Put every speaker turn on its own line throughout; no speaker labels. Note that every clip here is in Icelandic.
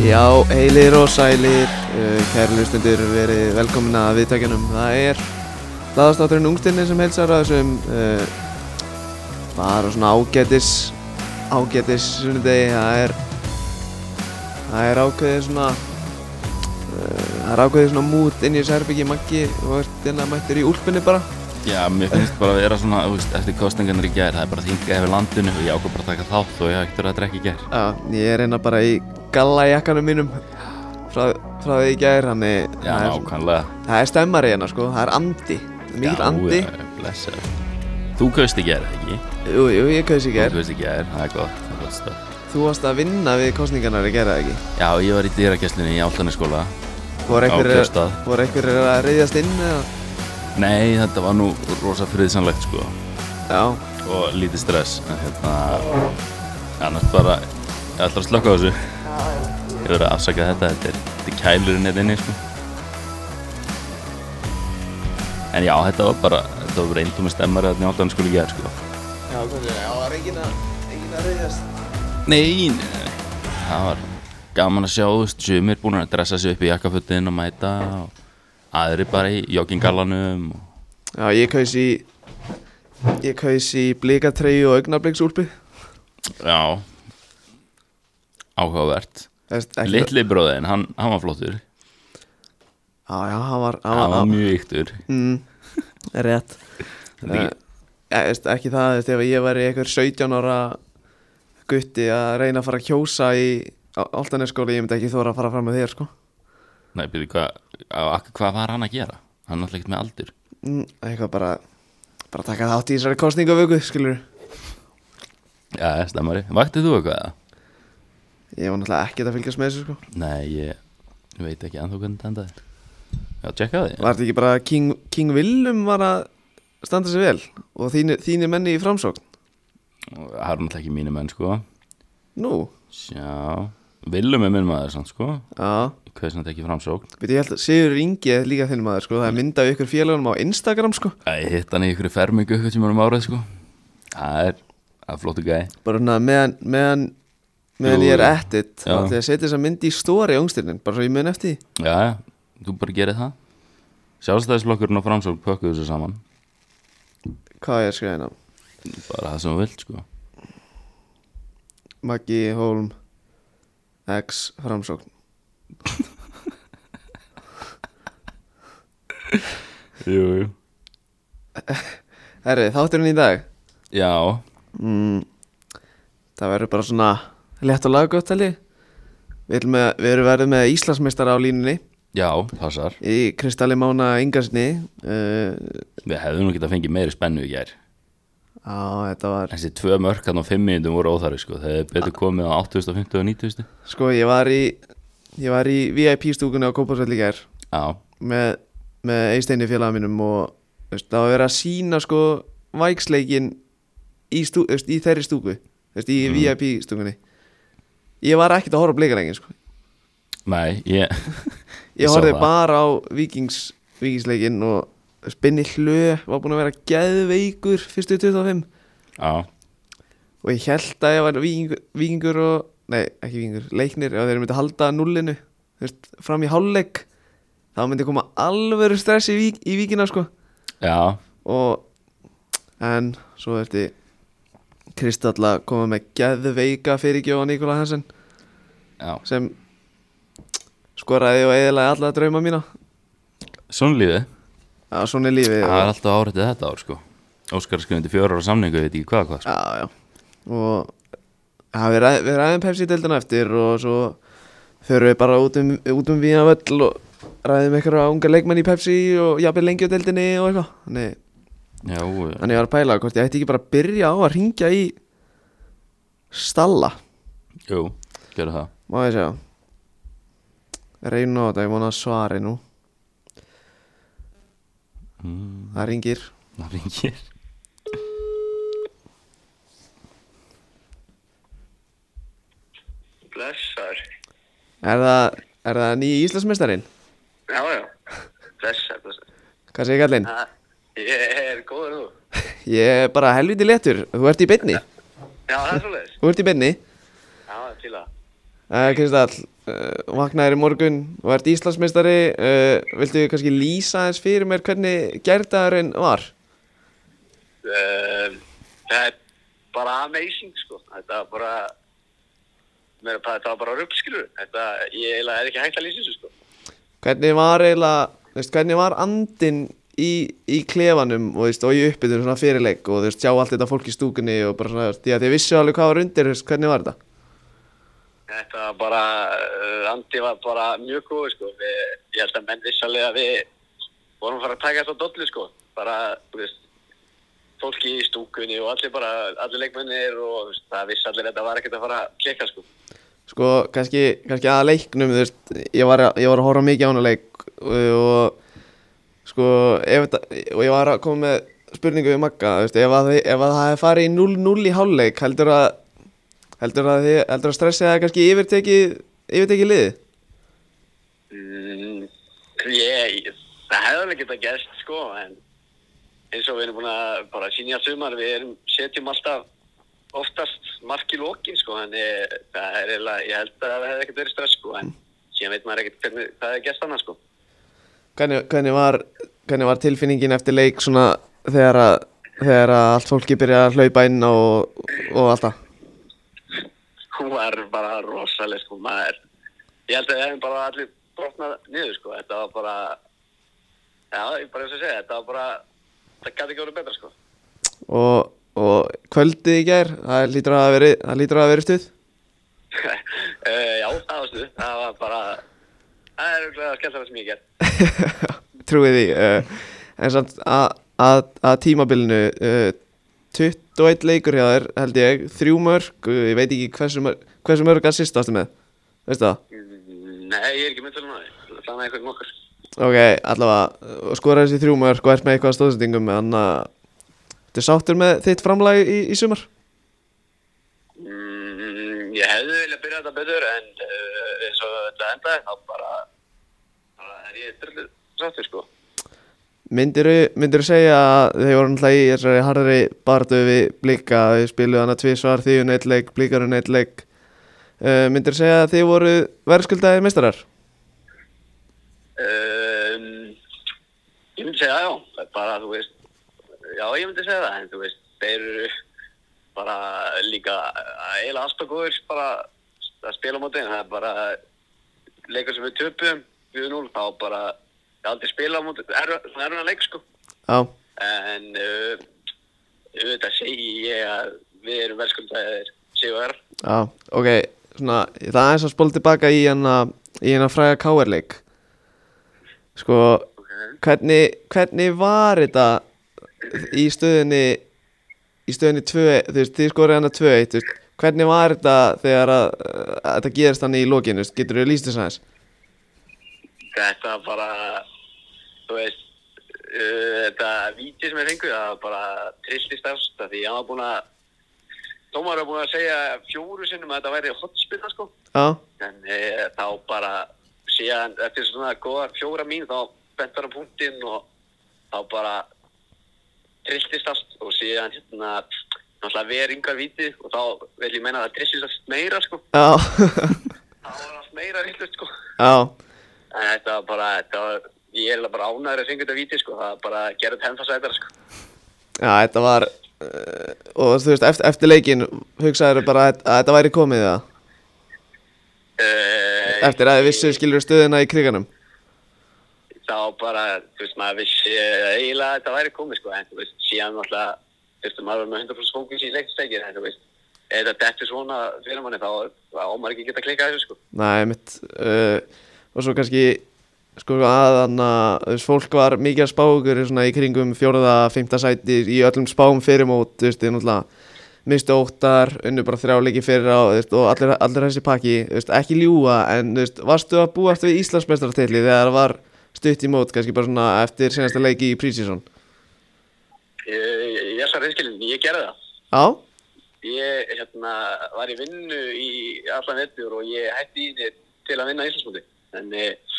Já, heilir og sælir, eh, kæru hlustundur, verið velkomin að viðtækjanum. Það er laðastátturinn Ungstinni sem heilsar að þessum uh, bara svona ágætis, ágætis sunnudegi. Það er, það er ákveðið svona, uh, það er ákveðið svona mút inn í þessu herbyggi maggi og ert inn að mættir í úlpunni bara.
Já, mér finnst bara að vera svona, þú veist, eftir kostningarnir í gær, það er bara þingað yfir landinu og ég ákvað bara að taka þátt og ég hafði ekkert verið að drekka í gær.
Já, ég er einna bara í galla jakkanum mínum frá, frá því í gær, þannig
Já,
það er-
nákvæmlega.
Það er stemmari hérna sko, það er andi Mikið andi
Já, blessaður. Þú kaust í gær, eða ekki?
Jú, jú, ég kaus í
Þú
gær
kaust í gær, það er gott, það er gott stöð.
Þú varst að vinna við kostningarnar í gera ekki
Já, ég var í dýrageslinni í áltanisskóla.
Fór
Á
einhverjir
kjörstað.
fór einhverjir að reyðast inn eða
Nei, þetta var nú rosa friðsanlegt, sko,
Já,
og lítið stress. En hérna, annars bara, ég ætla að slökka á þessu. Ég verið að afsaka þetta, þetta er, þetta er kælurinn hérna inni, sko. En já, þetta var bara, þetta var reyndum með stemmari að njóttan skuli gera, sko.
já, hvernig, já, það er engin að, engin að reyðast
Nei, nei, nei. Það var gaman að sjá, þú veist, sumir búin að dressa sig upp í jakkafutin og mæta og aðri bara í joggingallanum og...
Já, ég kaus í Ég kaus í blikatreyju og augnabliksúlpi
Já. Áhugavert. Littli bróðin, hann, hann var flottur.
Já, já, hann var, hann var,
Hann var
hann var
mjög yktur.
mm, Rétt
Þetta er
Eh, eh, veist, ekki það, veist, ef ég væri einhver 17 ára gutti að reyna að fara að kjósa í Altanesskóli, ég myndi ekki þóra að fara fram með þér sko.
Nei, byrju, hvað hva, hva var hann að gera? Hann er alltaf ekkert með aldur.
mm, eitthvað bara bara taka þátt í þessari kostningavöku skilur,
Já, það er stemmari. Vaktið þú eitthvað? eða?
ég var náttúrulega ekkert að fylgjast með þessu sko.
Nei, ég veit ekki ennþá hvernig þetta endaði. Já, tjekka því.
var þetta ekki bara King, King Willum var að standa sig vel og þínir þíni menni í framsókn
Það er náttúrulega ekki mínu menn, sko.
nú,
Sjá, Willum er minn maður samt sko
já
Ég kaus hann ekki framsókn
Veit, ég held að Sigur Ingi er líka þinn maður sko. það er myndað við ykkur félagunum á Instagram sko.
Æ, Ég hitt hann í ykkur fermingu ykkur tíma um árið sko Það er, það er flottu gæ
bara svona meðan meðan, meðan
Jú,
ég er
jú.
ettit þá
Já.
ætla ég að setja þess að myndi í stóri ángstirnin bara svo ég mun eftir því
Já, já, þú bara gerir það Sjálfstæðisflokkurinn og framsókn pökkuðu þessu saman
hvað á ég að skrifa hérna
Bara það sem þú vilt sko
Maggi Holm X framsókn
Jú, jú
herri þátturinn í dag
Já,
mm, það verður bara svona létt og laggótt held ég við, erum með, við erum verið með Íslandsmeistar á línunni
já, passar
í Kristalli Mána Ingarsni uh,
Við hefðum nú getað fengið meiri spennu í gær
á, þetta var
Þessi tvö mörk hann á fimm minnum voru óþarri sko Það er betur komið á 8.50 og 90.000
sko ég var í ég var í VIP stúkunni á Kópasvöld í gær
Já,
með, með Eisteini félaga mínum og þú veist, það var verið að sína sko væksleikin í, stú, þú veist, í þeirri stúku þú veist,
Mhm.
í VIP stúkunni ég var ekkert að horfa á bleikarengin sko.
nei, ég
ég,
sá
horfði
það.
bara á vikings, vikingsleikin og þú veist, Binni Hlö var búin að vera geðveikur fyrstu 25
Já,
og ég held að ég var vikingur, vikingur og, nei ekki vikingur, leiknir ef þeir myndi halda nullinu þú veist, fram í hálfleik þá myndi koma alvöru stress í, vík, í vikina sko
já,
og en svo ertu Kristalla koma með geðveika fyrirgjóða Nikola Hansen
já
sem skoraði og eðlaði alla drauma mína
Svona lífið
að svona er lífið
Það er
og,
alltaf árættið þetta ár sko Óskar skrifundi fjóra ára samningu, ég veit ekki hvað hvað sko.
já, já. og já, við, ræð, við ræðum um Pepsi-deildina eftir og svo förum við bara út um, út um Vína völl og ræðum einhverja unga leikmenn í Pepsi og jafnvel lengjudeildinni og eitthvað þannig
Já, eh,
þannig ég var að pæla hvort ég ætti ekki bara að byrja á að ringja í Stalla
jú, gerðu það
Má ég sjá Reynu á þetta, ég vona að svari nú Það ringir
Mm. Það ringir
Blessar.
Er það, er það nýji Íslandsmeistarinn?
Já, já. Blessar, blessar.
Hvað segir kallinn?
Ha, ég er góður þú.
Ég er bara helviti letur, þú ert í beinni
Já, það er svolítið.
Þú ert í beinni
Já, það er til að.
Uh, Kristall, uh, vaknaðir í morgun og ert Íslandsmeistari, uh, viltu kannski lýsa aðeins fyrir mér hvernig gerðaðurinn var?
Um, það er bara amazing sko þetta var bara mér að þetta var bara ruggskrur þetta ég eiginlega er ekki hægt að lýsa þessu sko
Hvernig var eiginlega, þú veist, hvernig var andinn í, í klefanum og, þú veist, og í uppbytun svona fyrirleik og þú veist, sjá allt þetta fólk í stúkunni og bara svona, þú veist, því að þið vissu alveg hvað var undir, þú veist, hvernig var þetta?
þetta var bara uh, Andi var bara mjög góð sko við, ég held að menn vissalega við vorum að fara að taka þetta á dollu sko bara þú veist fólki í stúkunni og allir bara allir leikmennir og þú veist, það viss allir að þetta var ekkert að fara að klikka sko
Sko, kannski, kannski að leiknum, þú veist, ég var, að- ég var að horfa mikið á hana leik og, og sko, ef þetta, og ég var að koma með spurningu við Magga, þú veist, ef að, þið- ef að það hefði farið í 0-0 í hálfleik, heldur að, heldur að, þið- heldur að stressið að kannski yfirtekið, yfirtekið liðið?
Mm, ég, það hefði alveg getað gerst sko en eins og við erum búin að bara sýnja sumar við erum, setjum alltaf oftast mark í lokin sko en ég, það er eiginlega, ég held að það hefði ekkert verið stress sko en síðan veit maður ekkert hvernig það hefði gerst annars sko
Hvernig, hvernig, var, hvernig var tilfinningin eftir leik svona þegar að, þegar að allt fólki byrjaði að hlaupa inn og, og allt það?
hún var bara rosaleg sko maður ég held að við hefum bara allir brotnað niður sko þetta var bara já, ég bara eins og segja þetta var bara það gæti ekki verið betra sko
Og, og kvöldið í gær, það lítur að hafa verið, það lítur að hafa verið stuð?
uh, já, það var stuð. Það var bara, það er auðvitað skemmtilega sem ég gerð.
Trúið því. Uh, en samt að- að að tímabilinu, uh, 21 leikur hjá þér held ég, þrjú mörg, ég veit ekki hversu mörg, hversu mörg að sýst varstu með, veistu það?
Nei, ég er ekki myndið núna. Það er eitthvað nokkur.
Ok, allavega, og skoraði þessi þrjú mörg og ert með eitthvað stóðsendingum, þannig að þetta er uh, sáttur með þitt framlag í, í sumar?
Mm, ég hefði viljað byrja þetta betur en uh, eins og þetta endaði þá bara, bara er ég drullið sáttur sko.
Myndirðu, myndirðu segja að þeir voru náttúrulega í þessari harðari barðu við blika, þau spiluðu hana tvísvar, þið unni eitt leik, blikar unni eitt leik. Uh, myndirðu segja að þið voru verðskuldaði meistarar?
Um, ég myndi segja já, það er bara þú veist, já ég myndi segja það en þú veist, þeir eru bara líka eh, eiginlega alltaf góður bara að spila á móti þeim, það er bara leikur sem við töpum, við erum núl, þá bara ég hef aldrei spila á móti, það er það er hann leik sko,
Já,
en uh, auðvitað segi ég að við erum verðskuldaðir sigur,
já, ok, svona, það er eins að spóla tilbaka í hana, í hana fræga káerleik. Sko, hvernig, hvernig var þetta í stöðinni, í stöðinni 2, þú veist, þið skorið hana 2-1, þú veist, hvernig var þetta þegar að, að þetta gerist hann í lokinu, getur þau lýst þess aðeins?
þetta bara þú veist uh, þetta víti sem ég fengu það var bara trilli starfst af því ég var búin að Tómar var búin að segja fjóru sinnum að þetta væri hotspinna sko
Já,
en e, þá bara síðan eftir svona góðar fjóra mín þá bentar hann punktinn og þá bara trilltist allt og síðan hérna náttúrulega verið yngar víti og þá vil ég meina að það trilltist allt meira sko
já,
það var allt meira villust sko
já,
En þetta var bara, þetta var, ég er eiginlega bara ánæður að fengu þetta víti, sko. Það var bara að gera þetta hennfasætara, sko.
já, þetta var, uh, og þú veist, eftir, eftir leikin hugsaður bara að, að þetta væri komið það,
Uh,
eftir að þið vissu skilur stöðina í kriganum.
Þá bara, þú veist, maður vissi eh, eiginlega að þetta væri komið, sko. En þú veist, síðan náttúrulega, þú veist, maður var með 100% fókus í leikstækir, en þú veist, ef þetta dettur svona fyrir manni, þá, þá ámar ekki að geta klikkað þessu, sko.
Nei, mitt uh, Og svo kannski sko aðanna Þú veist, fólk var mikið að spá ykkur svona í kringum fjórða, fymta sæti í öllum spám fyrir mót, þú veist, þið náttúrulega mistu óttar, unnu bara þrjáleiki fyrir á, þú veist, og allir, allir þessi pakki þú veist, ekki ljúga, en þú veist, varstu að búast við Íslandsmestartilli þegar það var stutt í mót, kannski bara svona eftir senasta leiki í prísísson
Ég, ég er svo reynskilin, ég gerði það.
Já,
Ég, hérna, var í vinnu í allan vettur og ég hætti í henni til að vinna Íslandsmóti. En eh,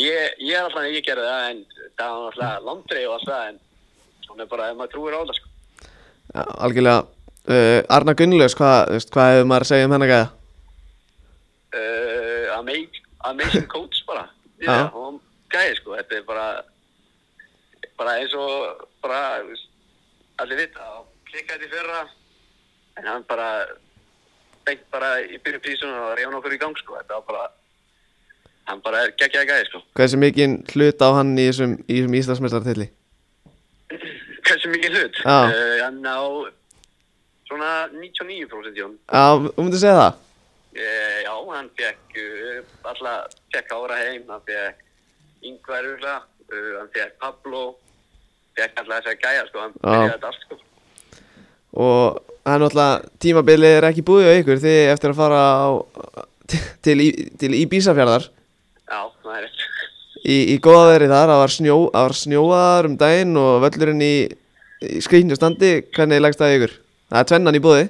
ég, ég er allan, ég gerði það, en það var alltaf landrei og allt það, en hún er bara, ef maður trúir á það, sko.
Já, Eh, algjörlega uh, Arna Gunnlaus, hvað, þú veist, hvað hefur maður að segja um hennar gæða?
Uh, amazing, amazing coach bara
Já.
yeah, og gæði sko, þetta er bara bara eins og bara þú veist, allir vita og klikkaði í fyrra en hann bara bengt bara í byrju prísunum og reyna okkur í gang sko, þetta var bara hann bara er geggjaði gæði sko
Hversu mikinn hlut á hann í þessum, í þessum Íslandsmeistartilli?
hversu mikið hlut
Já.
Eh, hann á svona 99% í honum
Já, þú myndir segja það?
Eh, Já, hann fekk uh, alla, fekk Ára heim, hann fekk Ingvar Urla, uh, hann fekk Pablo, fekk alla þessar gæja, sko, hann byrjaði þetta allt, sko.
Og það er náttúrulega, tímabilið er ekki búið á ykkur þið eigið eftir að fara á, til, Í- til Íbísafjörðar
Já, það er rétt.
í, í góða veðri þar, það var, snjó, það var snjóaðar um daginn og völlurinn í, í skrýtnu standi, hvernig leggst það í ykkur? Það er tvennan í búði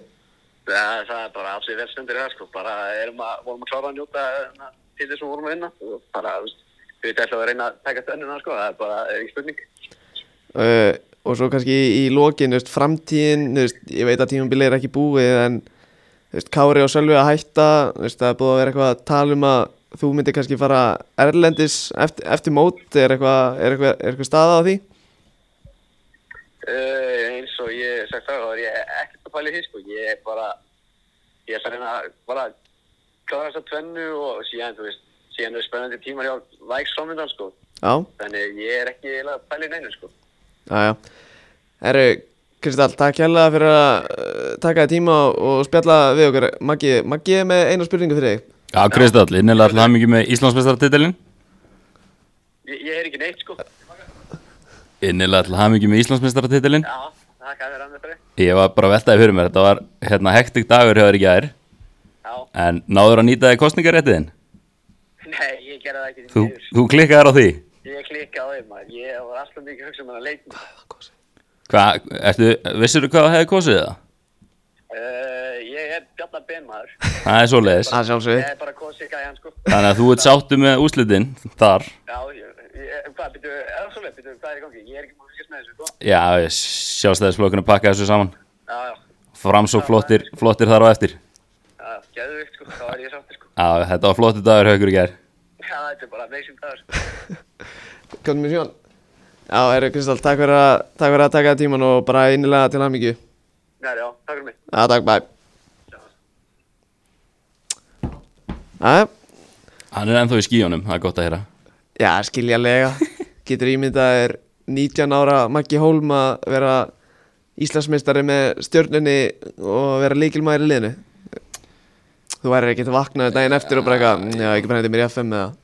Það, það er bara allir velstendur það, sko, bara erum að, vorum að klára að njóta hérna, til þess að vorum að vinna og bara, þú veist, við þetta ætlum að reyna að taka stönnuna, sko, það er bara, er ekki spurning.
uh, og svo kannski í, í lokin, þú veist, framtíðin, þú veist, ég veit að tímabilið er ekki búið en þú veist, Kári og Sölvi að hætta, þú veist, það er búið að vera eitthvað að tala um að þú myndir kannski fara erlendis eftir, eftir mót, er eitthvað, er eitthvað, er eitthvað staða á því?
Uh, eins og ég hef sagt það, þá er ég ekkert að pæli því, sko, ég er bara, ég ætla að reyna að bara klára þessa tvennu og síðan, þú veist, síðan eru spennandi tímar hjá Væks framöndan, sko,
Já,
þannig ég er ekki eiginlega að pæli neinu, sko.
Jájá Herru, Kristall, takk hérlega fyrir að uh, taka þér tíma og- og spjalla við okkur Maggi, Maggi er með eina spurningu fyrir þig
Já, Kristall, innilega alltaf það mikið með Íslandsmestaratitilin
Ég, ég er ekki neitt, sko.
Innilega alltaf það mikið með Íslandsmestaratitilin
Já, það kann vera annað fyrir.
Ég var bara að veltaði fyrir mér, þetta var hérna hektik dagur hjá þér í gær
Já,
En náður að nýta þig kostningaréttiðin?
nei, ég gerði það ekki því
Þú,
miður.
þú klikkaðar á því?
Ég klikka á þeim, maður. Ég var alltaf mikið að hugsa um hann að leikin.
Hvað, ertu, vissirðu hvað það hefði kosið það?
Uh, ég er Bjarnar Ben, maður.
Það er svoleiðis
Það
Ég
sjálfsög
er bara kosið gæjan, sko.
Þannig að þú ert sáttu með úslitin þar
Já, ég, ég, hvað, byrju, er það svolítið, byrju, hvað er í gangi? Ég er ekki múið að fylgjast með þessu, sko.
Já, sjálfstæðisflokkuna pakka þessu saman
Já, já,
Fram svo flottir, flottir þar á eftir
já, já, geðvikt, sko, þá er ég sáttir, sko.
Já, þetta var flottir dagur hjá ykkur í gær
Já, þetta er bara amazing dagur, sko.
Komum við sjón Já, herru, Kristall, takk fyrir að, takk fyrir að taka þér tíman og bara einilega til hamingju Já,
Já, já, takk fyrir mig.
takk, bæ Æ,
Hann er ennþá í skíjónum, það er gott að heyra
já, skiljalega Getur ímyndað er 19 ára Maggi Hólm að vera Íslandsmeistari með stjörnunni og vera líkilmaður í liðinu Þú væri ekki að vakna daginn eftir og bara eitthvað, "Mm, já, ekki brennandi mér í FM eða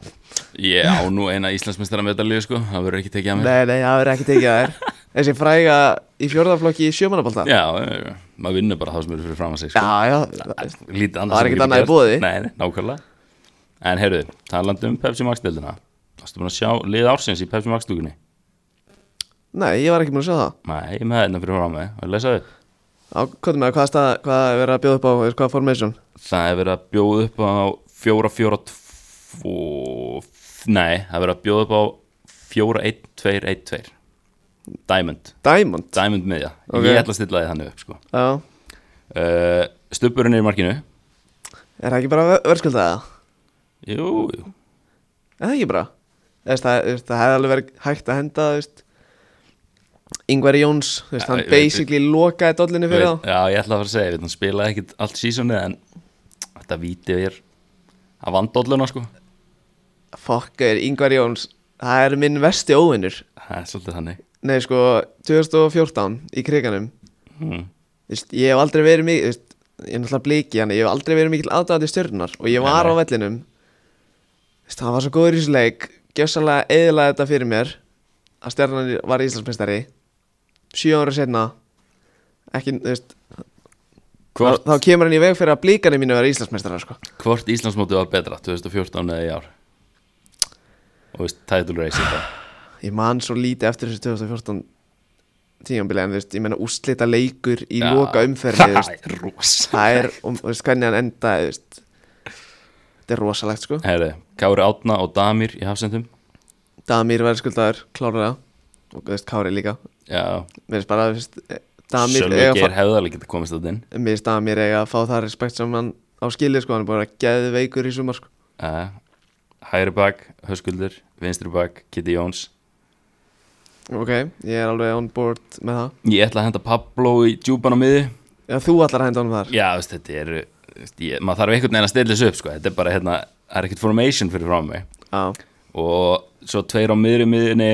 Ég á nú eina Íslandsmeistara medalíu sko, það verður ekki tekið að mig
Nei, nei, það verður ekki tekið að þér Þessi fræga í fjórðaflokki í sjömanabólta
Já, eh, maður vinnur bara þá sem eru fyrir fram að sig sko.
já, já
Lítið annað
Það er
sem
ekkert
getur
annað í
gerst.
boði.
Nei, nei, nákvæmlega En heyrðu, talandi um Pepsi Max-deildina Varstu búin að sjá lið ársins í Pepsi Max-stúkunni?
Nei, ég var ekki múin að sjá það
Nei, ég er með þetta fyrir fram með Og lesa upp
Á, hvað með, hvað, stað, hvað er verið að bjóða upp á, þú veist, hvað formation?
Það er verið að bjóða upp á 4-4-2 Nei, það er verið að bjóða upp á 4-1-2-1-2 Diamond,
Diamond?
Diamond miðja
Ok.
Ég ætla að stilla því þannig upp sko.
Já,
uh, Stubburinn er í markinu
er það ekki bara verðskuldað það?
Jú, jú
Er það ekki bara? Þess, það, þú veist, það hefði alveg verið hægt að henda, þú veist Ingvar Jóns, þú veist,
Já,
hann
ég veit-
basically lokaði dollinu fyrir
Veit-
þá
Já, ég ætla að fara að segja, ég veit, hann spilaði ekkit allt sísonið en þetta víti er að vandolluna sko
Fuck, er Ingvar Jóns, það er minn vesti óvinnur
Það er svolítið þannig
Nei, sko, 2014 í kriganum
mm.
Þú veist, ég hef aldrei verið mikið veist, ég er náttúrulega bliki hann ég hef aldrei verið mikill aðdáðandi stjörnar og ég var á
Nei,
vellinum Þú veist, hann var svo góður í þessu leik gjössalega eðilaði þetta fyrir mér að stjarnan var Íslandsmeistari sjö ára setna ekki, þú veist, þá,
Hvort,
þá kemur hann í veg fyrir að blíkanir mínu vera Íslandsmeistari sko.
hvort Íslandsmótið var betra 2014 eða í ár og veist, title race í dag
ég man svo lítið eftir þessu 2014 tímanbili en þú veist, ég menna úslita leikur í
Já.
loka umferði þú veist.
Það er rosa
það er, og, þú veist, hvernig hann endaði þú veist. þetta er rosalegt sko
Herri, Kári Átna og Damir í hafsendum
Damir verður skuldaður klárlega og þú veist Kári líka
Já,
mér finnst bara þú veist, eh, Damir
Sölvi
eiga að
Geir
fá-
hefðalega getið komist á þinn
mér finnst Damir eiga að fá það respekt sem hann á skilið sko hann er bara geðveikur í sumar sko
Uh, hægri bak, Höskuldur, vinstri bak, Kitty Jóns.
Ok, ég er alveg on board með það
Ég ætla að henda Pablo í djúpan á miði.
Já, þú allar að henda honum þar
Já, þú veist, þetta er, ég, maður þarf einhvern veginn að stilla þessu upp, sko. Þetta er bara, hérna, það er ekkert formation fyrir frá mig.
Já,
Og svo tveir á miðri miðinni,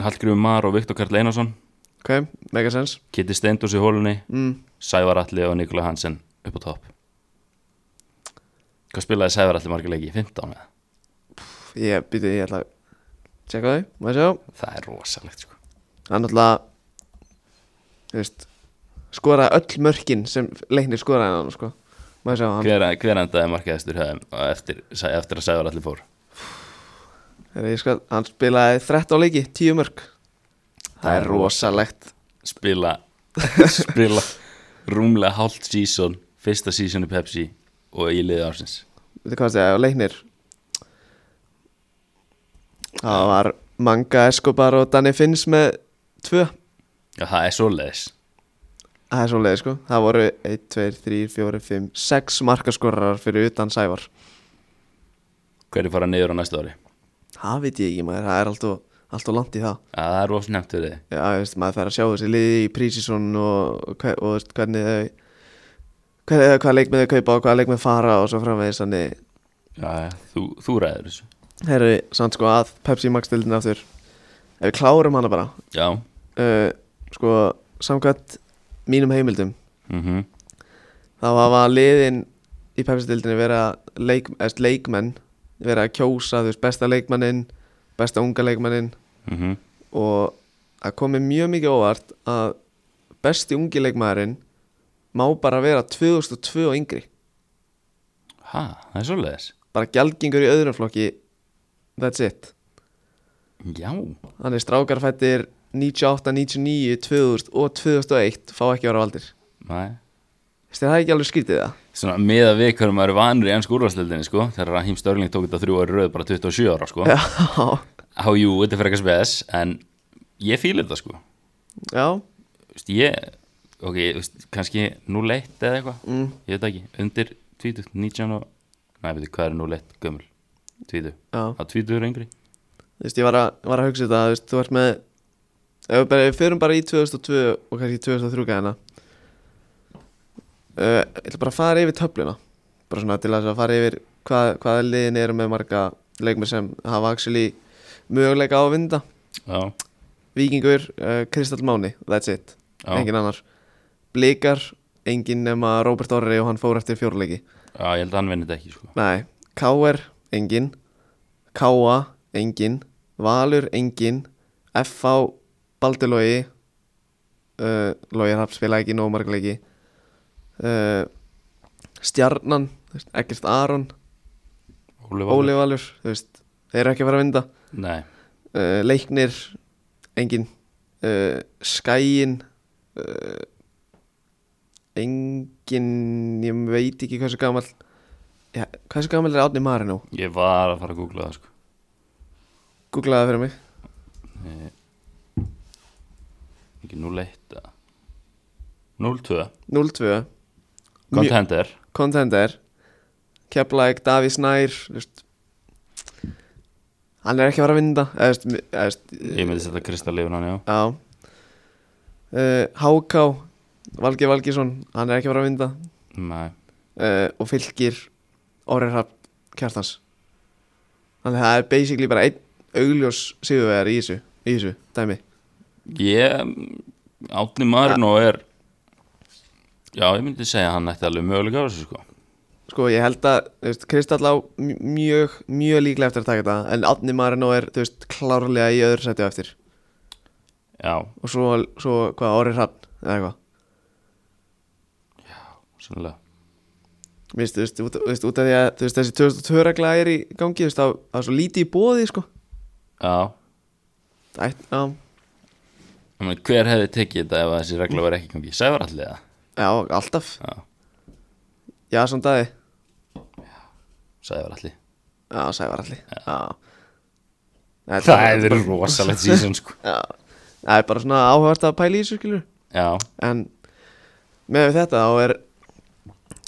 Hallgrífur Mar og Viktor Karl Einarsson,
ok, mega sens
Kitty Steindors í hólunni,
mm.
Sævar Alli og Nikola Hansen upp á topp. Hvað spilaði Sævar Alli margir leiki? 15 eða?
Ég býti, ég ætla að tjekka þau, maður sjá
Það er rosalegt, sko.
Hann náttúrulega, þú veist, skoraði öll mörkin sem leiknir skoraði hann, sko Maður sjá, hann,
Hver, hver endaði markaðistur höfum eftir, eftir að Sævar allir fór?
er, ég skal, hann spilaði 13 leiki, 10 mörk Það er rosalegt
Spila, spila rúmlega hálft sísón, fyrsta sísónu Pepsi og í liði ársins.
Þetta hvað það er, leiknir Það var Manga Escobar og Danny Finns með 2
Já, það er svoleiðis.
Það er svolítið sko, það voru 1, 2, 3, 4, 5, 6 markaskorarar fyrir utan Sævar
Hverju fara niður á næsta ári?
Það veit ég ekki maður, það er alltof, alltof langt í það
Já, það er rosa nefnt fyrir þið.
Já, þú veist, maður þarf að sjá þessi liði í prísísón og, og, hve- og þú veist, hvernig þau hvernig, hvað leikmið þau kaupa og hvað leikmið fara og svo framvegis þannig,
Já, já, þú, þú ræður þessu.
herru, samt sko að Pepsi Max dildin aftur ef við klárum hana bara
Já,
uh, sko, samkvæmt mínum heimildum
mhm,
þá hafa liðin í pepsildinni vera leik, eða leikmenn vera að kjósa, þú veist, besta leikmannin besta unga leikmannin
mhm,
og það komi mjög mikið óvart að besti ungi leikmaðurinn má bara vera 2002 og yngri
ha, það er svoleiðis.
bara gjaldgengur í öðrum flokki that's it
Já,
hann er strákarfættir 98, 99, 2000 og 2001 fá ekki að vera valdir
næ.
Þessi, það er ekki alveg skrítið það
Svona miða við hverju maður er vanur í ennsku úrvarsleildinni, sko. Þegar Rahim Störling tók þetta þrjú ári í röð bara 27 ára, sko.
já,
Há, jú, þetta er frekar spes, en ég fíla þetta, sko.
já,
Vist, ég, ok, vist, kannski 0-1 eða eitthvað, ég veit það ekki, undir 20, 19 og, næ, veitu, hvað er 0-1 gömul, 20,
já.
á 20 er yngri,
Þú veist, ég var að, var að hugsa þetta, þú veist, þú ert með ef við bara, við förum bara í 2002 og kannski 2003 gæðina uh, ég ætla bara að fara yfir töfluna bara svona til þess að fara yfir hvað, hvaða liðin eru með marga leikmur sem hafa actually möguleika á að vinda
já,
Víkingur, uh, Kristall Máni, that's it
Já.
engin annar Blikar, engin nema Robert Orri og hann fór eftir fjórleiki
já, ég held að hann vinni þetta ekki, sko,
Nei, K.R. engin K.A. engin Valur engin F.A. Baldur Logi uh, Logi Rapp spila ekki nóg margleiki uh, Stjarnan þú veist, Eggert Aron,
Óli Valur.
Óli Valur þú veist, þeir eru ekki að fara að vinda
nei,
uh, Leiknir engin uh, Skæin uh, engin ég veit ekki hversu gamall ja, hversu gamall er Átni Marino
ég var að fara að googla það, sko,
Googlaði það fyrir mig
ekki 0-1 eða, 0-2,
02 Mjö-
contender,
Contender Keflæk, Davís Nær þú veist. Hann er ekki að fara að vinda eða, þú veist, eða, þú veist,
ég myndi setja Kristall yfir hann, já,
Já uh, Háká Valgi Valgisson, hann er ekki að fara að vinda
nei,
uh, og fylgir Orri Rapp Kjartans Þannig að það er basically bara einn augljós sigurvegar í þessu, í þessu dæmi
ég, Átni Marino er, já, ég myndi segja að hann ætti alveg mögulega á þessu, sko,
Sko ég held að þú veist, Kristall á mj- mjög, mjög líklega eftir að taka þetta en Adni Marino er þú veist, klárlega í öðru sæti á eftir
já,
og svo, svo hvað, Orri Hrann eða eitthvað
sannlega,
Mér finnst, þú veist, út, þú veist, út af því að þú veist, þessi 2002 regla er í gangi þú veist, það það er svo lítið í bóði sko.
já,
Ætt, já,
Ég meina, Hver hefði tekið þetta ef að þessi regla var ekki í gangi? Sævar allir það?
já, alltaf
Já,
Já, svona daði
Sævar allir
Já, sævar allir Já Þetta
Það hefur rosalegt sísón sko
Já, það er bara svona áhægt að pæla í þessu skilur
Já,
En með við þetta þá er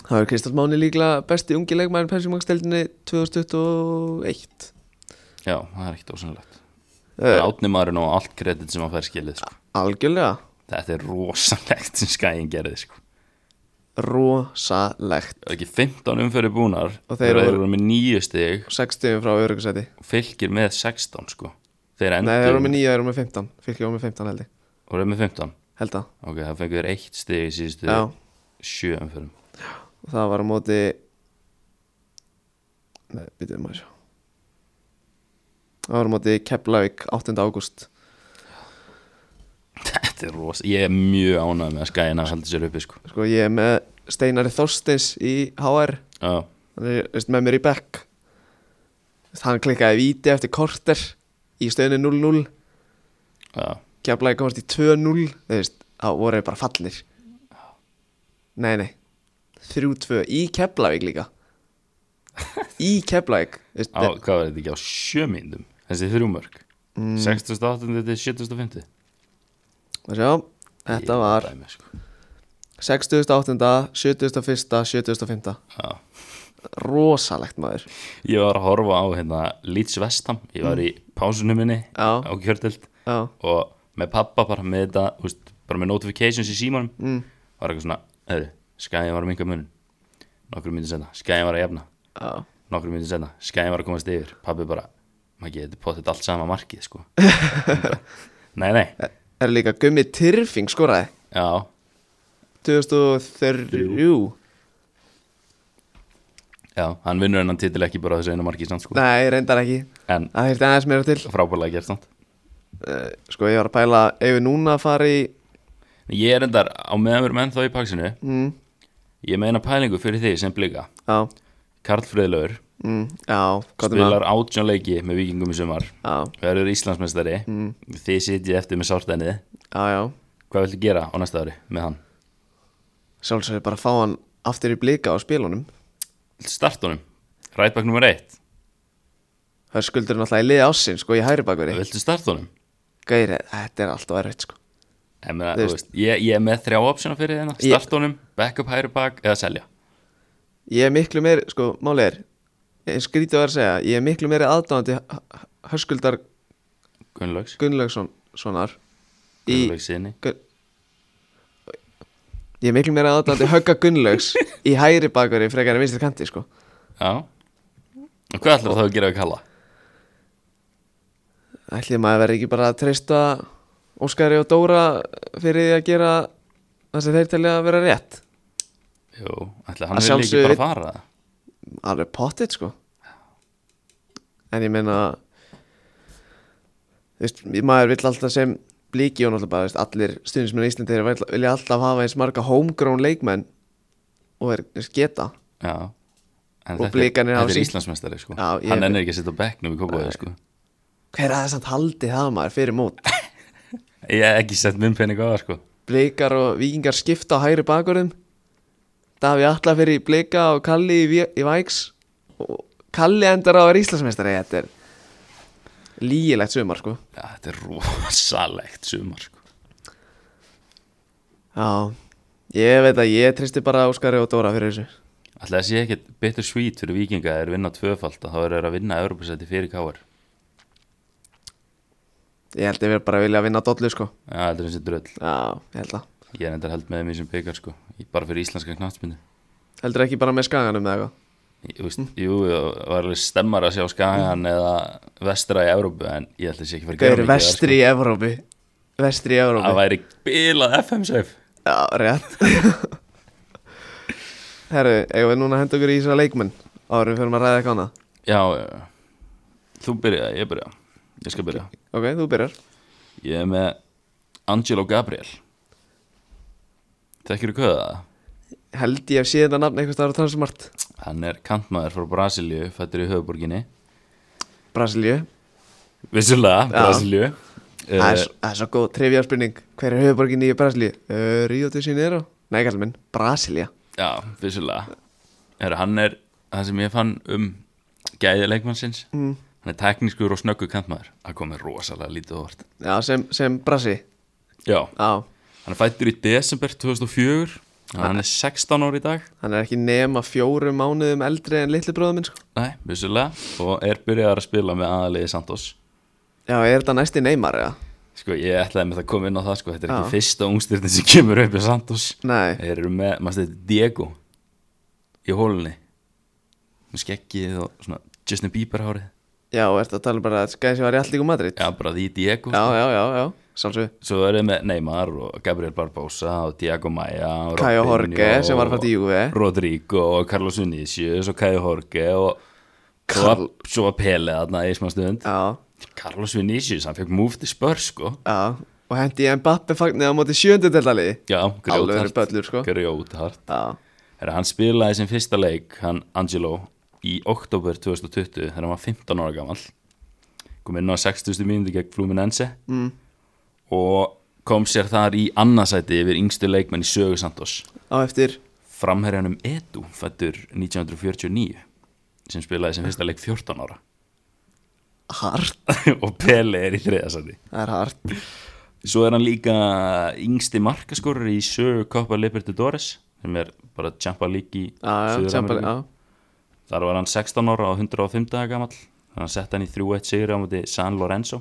Það er Kristall Máni líklega besti ungi leikmæður Pensjumaksdeldinni 2021
Já, það er ekkert ósannlegt Það er
uh,
átni maðurinn og allt kredit sem hann fær skilið sko.
Algjörlega
Þetta er rosalegt sem skæðin gerði sko.
Rosalegt
Það er ekki 15 umfyrir búnar
Og þeir
þeir
voru-
eru með nýju stig
60 frá örugasæti
og fylgir með 16 sko. Þeir
Nei, þeir eru
endur
með 9, þeir eru með 15 Fylgir eru með 15 held ég
og eru með 15
Held að
Ok, það fengur þér eitt stig í síðustu
Já.
sjö umfyrum
Og það var á móti Nei, býtum maður sjá Það var á móti Keflavík 8. ágúst
Þetta er rosa, ég er mjög ánægð með að skæðina haldi sér uppi sko.
Sko ég er með Steinari Þorstins í HR
Já,
Hann er veist, með mér í bekk Veist, Hann klikkaði víti eftir korter Í stöðinu 0-0
já,
Keflavík komast í 2-0 Þú veist, þá voru þeir bara fallir Nei, nei 3-2 í Keflavík líka Í Keflavík Þú veist,
á, hvað var þetta ekki á sjö mínum þessi þrjúmörk mm. 68. til 75.
Má sjá, þetta
Ég
var
dæmi, sko.
68. 71. 75.
Já.
Rosalegt maður
Ég var að horfa á hérna Leeds Vestham, ég var í pásunum minni
Mm. Já.
á kjördild
Já,
og með pappa bara með þetta úst, bara með notifications í símanum mm. var eitthvað svona, heyrðu, skæðin var að minka munin nokkrum myndin senna, skæðin var að jafna
já
nokkrum myndin senna, skæðin var að komast yfir pappi bara, maður getur potið allt sama markið sko Bara, nei, nei,
Það er líka Gummi Tyrfing skoraði
já
2003
já, hann vinnur hennan titil ekki bara á þessu einu markið samt sko,
Nei, reyndar ekki
en
Það hefði aðeins meira til
frábærlega gert samt
Eh, Sko, ég var að pæla Ef við núna að fara í
ég er endar á meðan við erum ennþá í paksinu
mm,
ég meina pælingu fyrir því sem blika
Já,
Karl Friðlaur
mm, já gott um það.
spilar átján leiki með vikingum í sumar
Já,
verður Íslandsmeistari
Mm.
þið sitjið eftir með sártænið
já, já
hvað viltu gera á næsta ári með hann?
Sjálfsögur bara að fá hann aftur í blika á spilunum
Viltu starta honum? Rætbakk nummer eitt
Það er skuldur náttúrulega í liði ásinn, sko, í hæri bakveri
viltu starta honum?
Gæri, þetta er alltaf erfitt, sko
Ég, meina,
Þú
þú veist, ég, ég er með þrjá opsjóna fyrir þeirna
Ég-
starta honum, backup hægri bak eða selja
Ég er miklu meir, sko, máli er Ég skrítið var að segja, ég er miklu meiri aðdáðandi Höskuldar
Gunnlaugs,
Gunnlaugsson sonar í,
Gunnlaugs sinni
Gun... Ég er miklu meira aðdáðandi Högga Gunnlaugs í hægri bakveri frekar en vinstri kanti sko
já og hvað ætlar þá að gera við Kalla?
Ætli maður verði ekki bara að treysta Óskari og Dóra fyrir því að gera það sem þeir telja að vera rétt
Jú, ætla
Að
hann vil ekki
sjálfsögðu-
bara fara
Alveg pottit sko En ég meina Þú veist, maður vill alltaf sem blíki og náttúrulega bara, þú veist, allir stundismenn í Íslandi þeir vilja- vilja alltaf hafa eins marga homegrown leikmenn og er, er geta
já En
Og
þetta,
Blikarnir hafa
þetta er
sýnt-
Íslandsmeistari sko.
Já, ég-
hann ennir ekki að sitja á bekknum í kópaði sko.
Hver að þess að haldi það maður fyrir mót
ég hef ekki sett minn pening á það sko.
Blikar og vikingar skipta á hægri bakurðum Daví Alla fyrir í Blika og Kalli í, Ví- í Væks og Kalli endar á að vera Íslandsmeistari þetta er lígilegt sumar sko
Já, þetta er rosalegt sumar sko.
Já, ég veit að ég tristi bara Óskari og Dóra fyrir þessu
Alltaf þessi ekkert betur svít fyrir vikinga er vinna tvöfald að þá eru þeir að vinna Europasæti fyrir káar
Ég held ég verið bara að vilja vinna dollu sko
Já, þetta er þessi dröll
Já, ég held að
Ég er endar held með mér sem byggar sko Ég- bara fyrir íslenska knattspindu
Heldur ekki bara með skaganum eða eitthvað
Jú, það var alveg stemmar að sjá Skagan eða vestra í Európu en ég ætla þessi ekki fyrir
Gauður vestri í Evrópi Vestri í
sko. Það
Evrópi
væri bilað FM-seif
Já, rétt Herru, eigum við núna að henda okkur í þessar leikmenn Árum fyrir maður að ræða eitthvað annað
Já, já, já. þú byrja, ég byrja Ég skal byrja
Ok, þú byrjar
Ég er með Angelo Gabriel Þekkir þú köða það?
held ég að sé þetta nafn eitthvað starf transmart
Hann er kantmaður frá Brasilíu, fættur í höfuborginni
Brasilíu
Vissulega,
Já.
Brasilíu
það er,
uh,
s- það er svo góð trefjarspurning hver er höfuborgin í Brasilíu? Uh, Rio de Janeiro? Nei, kallar minn, Brasilia
Já, vissulega Heru, Hann er, það sem ég fann um gæði leikmannsins mm. Hann er teknískur og snöggur kantmaður Það komið rosalega lítið orð
Já, sem, sem Brasi
Já,
Já,
hann er fættur í desember 2004 Hann er 16 ári í dag
Hann er ekki nema fjórum mánuðum eldri en litli bróðum minn sko
Nei, vissulega Og er byrjaðar að spila með aðaliði Santos
Já, er þetta næsti neymar eða?
Sko, ég ætlaði með það að koma inn á það sko Þetta er
Já.
ekki fyrsta ungstyrnin sem kemur upp í Santos
Nei,
Þeir eru með, maður stið, Diego Í hólunni Með skeggið og svona Justin Bieber hárið
já, ertu að tala um bara að skæði sem var í allíku Madrid
Já, bara því Diego
já, já, já, já. sjálfsög
Svo eru þeir með Neymar og Gabriel Barbosa og Diego Maia og
Caio
Robinho
Jorge sem var
og
að fara til Juve.
Rodrigo og Carlos Vinicius og Caio Jorge og
Karl-
Karl... svo að Pele þarna í smá stund
Já,
Carlos Vinicius, hann fekk múf til spör sko
já Og hendi ég en bappi fagnir á móti sjöndutildaliði
Já,
Alvöru böllur, sko.
grjóthart
Já,
Herra, hann spilaði sem fyrsta leik, hann Angelo, í oktober 2020 þegar hann var 15 ára gamall kom inn á 60. mínúti gegn Fluminense mm. og kom sér þar í annarsæti yfir yngstu leikmenn í sögu Santos
á eftir
framherjanum Edu, fættur 1949 sem spilaði sem fyrsta leik 14 ára
Hart,
og Pele er í þriðasæti
það er hart
Svo er hann líka yngsti markaskorur í sögu Copa Libertadores sem er bara Champa League í
Já, já,
Suður-Ameríku.
Champions- já,
Þar var hann 16 ára og 105 daga gamall Þannig að sett hann í 3-1 sigur á móti San Lorenzo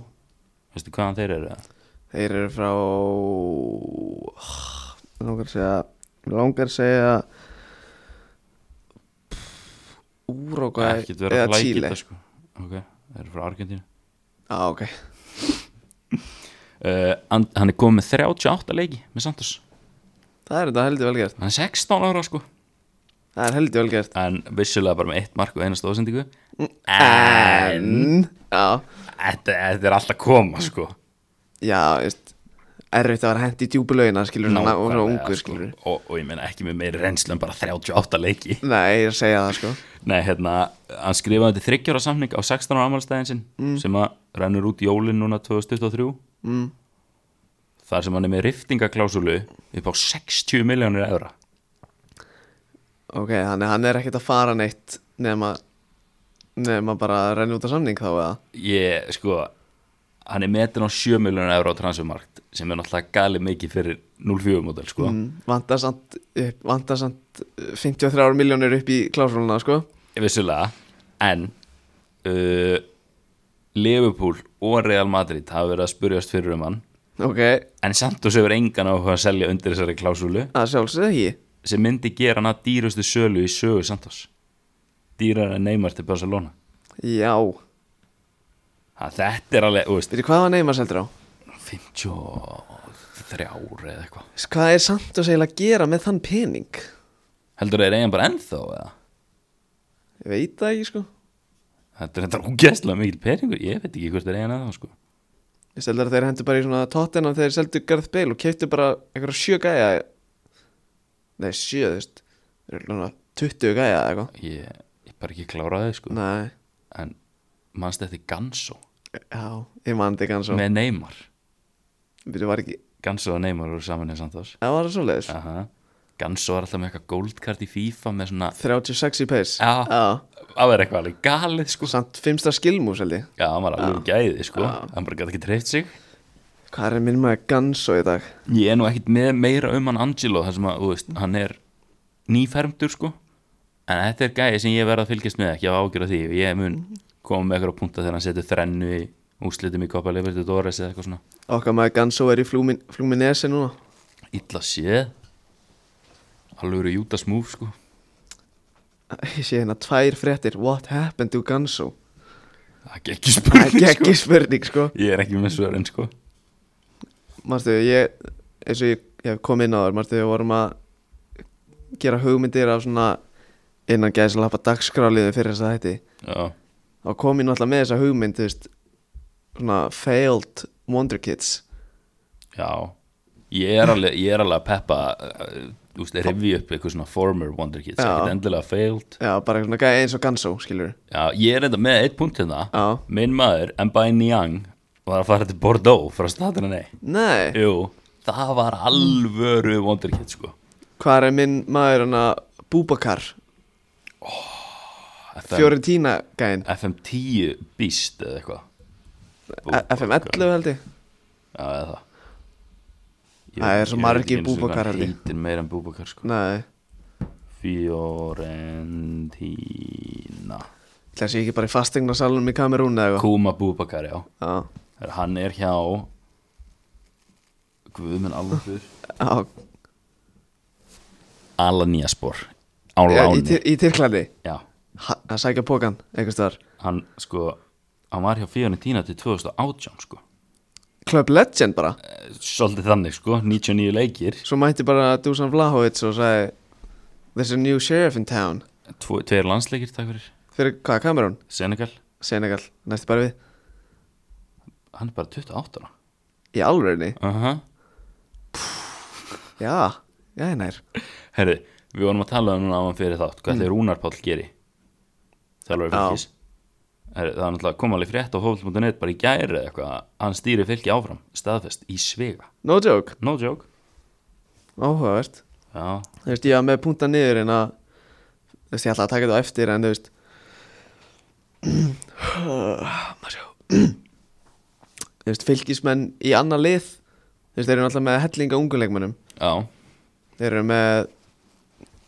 Veistu hvaðan þeir eru? eða?
Þeir eru frá Mig Langar að segja mig Langar að segja Úrugvæ
Ekkert vera
eða
að flækja
Chile
þetta sko Ok, þeir eru frá Argentínu
Já, ok
uh, Hann hann er komið með 38 leiki með Santos
Það er þetta heldur vel gert
Hann er 16 ára sko
Það er heldur vel gert
En vissulega bara með eitt mark og eina stóðsendingu
Mm, eh.
En
En Já,
þetta, þetta er alltaf koma sko
já, veist Erfitt að vera hent í djúbulögina, skilur Ná, og svona
Nákvæmlega,
ungur,
sko.
skilur
og, og ég meina ekki með meiri reynslu en bara 38 leiki
Nei, ég er að segja það, sko
Nei, hérna, hann skrifaði þetta þryggjóra samning á 16 ára afmælstæðin sinn sem að rennur út jólin núna 2023 mm. þar sem hann er með riftingaklásulu upp á 60 miljónir eðra
Ok, þannig að hann er ekkert að fara neitt Nefn að Nefn að bara renna út á samning þá, eða
Ég, sko, hann er metin á 7 miljónir eðra á transfermarkt sem er náttúrulega gali mikið fyrir 0,4 model, sko
Mm. Vantar samt, upp- vantar samt uh, 53 miljónir upp í klásrúluna sko.
vissulega, en uh, Liverpool og Real Madrid hafa verið að spurjast fyrir um hann
Ok,
en Santos hefur engan áhuga að selja undir þessari klásulu
það sjálfsögðu ekki
sem myndi gera hann að dýrustu sölu í sögu Santos dýrar en Neymar til Barcelona
Já,
ha, þetta er alveg, þú veist
veitir hvað var Neymar seldur á?
53 eða eitthvað
S- Hvað er samt að segja að gera með þann pening?
heldur það er eigin bara ennþá eða
Ég veit það ekki sko
þetta er þetta ógæslega mikil peningur ég veit ekki hvort það er eigin ennþá sko
Ég seldur að þeir hendur bara í svona tóttina þegar þeir seldu Garth Bale og keiptu bara einhverja sjö gæja Nei, sjö, þú veist Þeir eru svona 20 gæja eða eitthvað
ég, ég bara ekki klára þau sko
Nei,
en mannst þetta Ganso
já, ég man þetta ekki hann svo
með Neymar
Við var ekki,
Ganso og Neymar voru saman í Santos
það var svo leiðis
Aha. Ganso var alltaf með eitthvað goldkart í FIFA með svona,
36 í pace
Já. það var eitthvað alveg galið sko
Samt fimmsta skilmú seldi
Já, hann var alveg gæðið sko Hann bara gæti ekki treyft sig
Hvað er minn maður Ganso í dag?
Ég er nú ekkit með meira um hann Angelo þar sem að, þú veist, hann er nýfermdur sko En þetta er gæði sem ég verð að fylgjast með ekki á ágjur af því Ég mun koma með eitthvað punta þegar hann setur þrennu í úslitum í Copa Libertadores eða eitthvað svona
Okkar maður Ganso er í flúmin, Fluminese núna
Illa séð Alveg eru Júdas múf sko
Ég sé hérna tvær fréttir What happened to Ganso?
Það er ekki
Það
spurning
er
sko
ekki spurning sko
Ég er ekki með svörin sko
Marstu, ég eins og ég, ég hef kom inn á þér Marstu, við vorum að gera hugmyndir af svona innan gæðis að lappa dagskráliðu fyrir þess að þetta
Já,
og kom ég náttúrulega með þessa hugmynd þú veist, svona failed wonder kids
já Ég er alveg, ég er alveg að peppa uh, Þú veist, revi upp eitthvað svona former Wonder Kids,
Já.
ekkert endilega failed
Já, bara svona gæði eins og Ganso, skilur
Já, ég er enda með eitt punkt hérna
Já.
Minn maður, Mbaye Niang var að fara til Bordeaux frá statuna nei
Nei,
Jú, það var alvöru vondirkitt sko
hvað er minn maður hana Búbakar,
FM,
Fiorentina gæðin
FM10 Beast
E,
eða eitthvað
FM11 held ég
Já, eða það Ég-
Það er svo
ég veit
margir
ekki einu sinni hvað
Búbakar,
hann
held ég.
heitir meira en búbakar sko
Nei,
Fiorentina
það sé ekki bara í fastegnasalunum í Kamerún eða eitthvað
Kuma búbakar já
Já,
Þegar hann er hjá Guðminn alveg
já,
Alaniaspor á
já í,
láni
Ty- í Tyrklandi
já,
Ha- að sækja pókan einhvers staðar
hann sko hann var hjá Fiorentina til 2018 sko
Club Legend bara
Eh, svolítið þannig sko 99 leikir
Svo mætti bara Dusan Vlahovic og sagði There's a new sheriff in town
tvo, tveir landsleikir takk fyrir
Fyrir hvað, Kamerún?
Senegal
Senegal, næstu bara við
hann er bara 28 ára
Í alvegni?
uh
Já, já, ég nær
herru við vorum að tala um núna áman fyrir þátt hvað mm. þeir Rúnar Páll geri þjálfur
Já.
fylgis herru það er náttúrulega kom alveg frétt á hófl.net bara í gæri eða eitthvað að hann stýri fylgi áfram staðfest í svega
No joke,
no joke
áhugavert
já
Þú veist, ég var með punta niður en að Þú veist, ég ætla að taka þetta á eftir en þú veist Má sjá. Þú veist, fylgismenn í annað lið Þú veist, þeir eru náttúrulega með hellinga unguleikmennum
já
Þeir eru með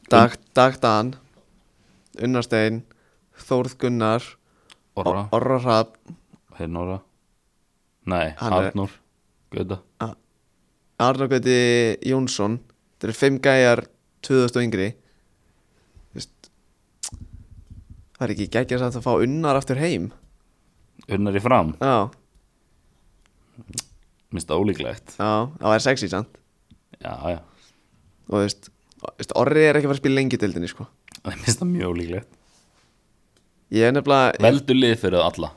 Dag, Dag Dan Unnarstein Þórð Gunnar
Orra
Orra Rapp
Hérna Orra Nei,
Hann er-
Arnór Gauta
Arnogöti Jónsson Þeir eru fimm gæjar 2000 og yngri Þú veist, Það er ekki geggjast að það fá unnar aftur heim
Unnar í fram
Já,
Minnst það ólíklegt
já, það er sexy sant
Já, já
Og þú veist, þú veist, Orri er ekki að fara að spila lengi dildinni sko
Það minnst það mjög ólíklegt
Ég er nefnilega
Veldu lið fyrir það alla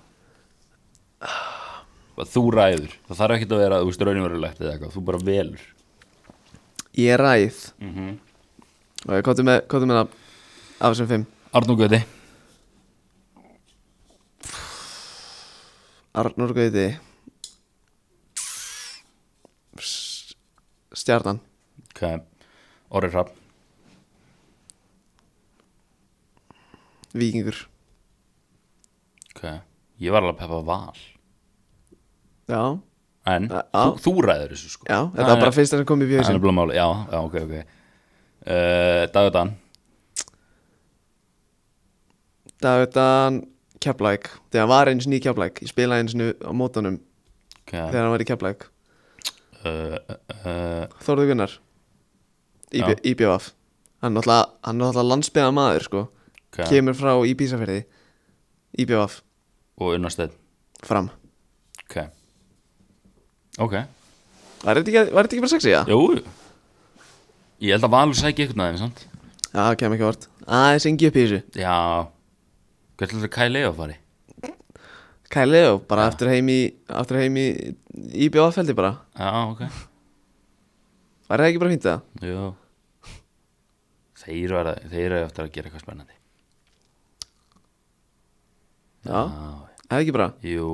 Bara Þú ræður Það þarf ekkert að vera Þú veist raunverulegt eða eitthvað Þú bara velur
Ég er ræð Og ég kóttu með, kóttu með það Af þessum fimm
Arnór Gauti
Arnur Gauti Stjarnan
okay. Orri Rapp
Víkingur
okay. Ég var alveg að peppa val
Já,
En
Eh, Já.
þú, þú ræður þessu sko
já, þetta var bara
fyrst
fyrsta sem kom í
Það er
bjöðsinn
bara máli Já, já, ok, ok uh, Dagudan
Dagutan Keflæk Þegar hann var eins ný Keflæk Ég spilaði eins ný á mótunum
okay.
Þegar hann var í Keflæk
uh, uh, uh,
Þórður Gunnar
Já.
Íbjöfaf Hann er náttúrulega- hann er náttúrulega landsbyða maður sko
okay.
Kemur frá Íbísafyrði Íbjöfaf
og Unnarsteinn
fram
ok ok,
Var þetta ekki, var þetta ekki bara sexy, já?
jú ég held að Valur sæki eitthvað aðeins sant?
Já, það kemur ekki vart Aðeins engi upp í þessu
já hvert heldur Kyle Leo fari
Kyle Leo, bara aftur heim í Aftur heim í Íbjöfaf heldur bara
já, ok,
Var það ekki bara fínt það?
jú þeir eru þeir eru eftir að gera eitthvað spennandi
Já, það ekki bara
jú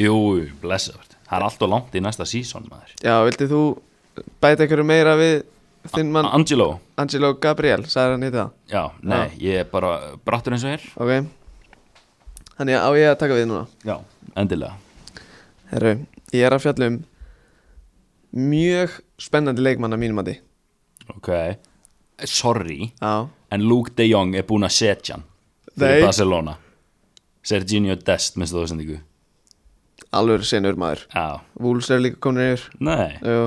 jú, blessa það er allt og langt í næsta sísón maður
Já, vildið þú bæta einhverju meira við þinn mann
Angelo,
Angelo Gabriel, sagði hann heita
já, nei, ég er bara brattur eins og er
það Ok Þannig að á ég að taka við núna
já, endilega
Herru, ég er að fjalla um mjög spennandi leikmann að mínum að því
ok, sorry
Já,
En Luke de Jong er búinn að setja hann
Nei.
Fyrir Barcelona Serginho Dest, minnst þú það sendingu
alveg senur maður
Já,
Vúls er líka komin yfir
nei
Jú.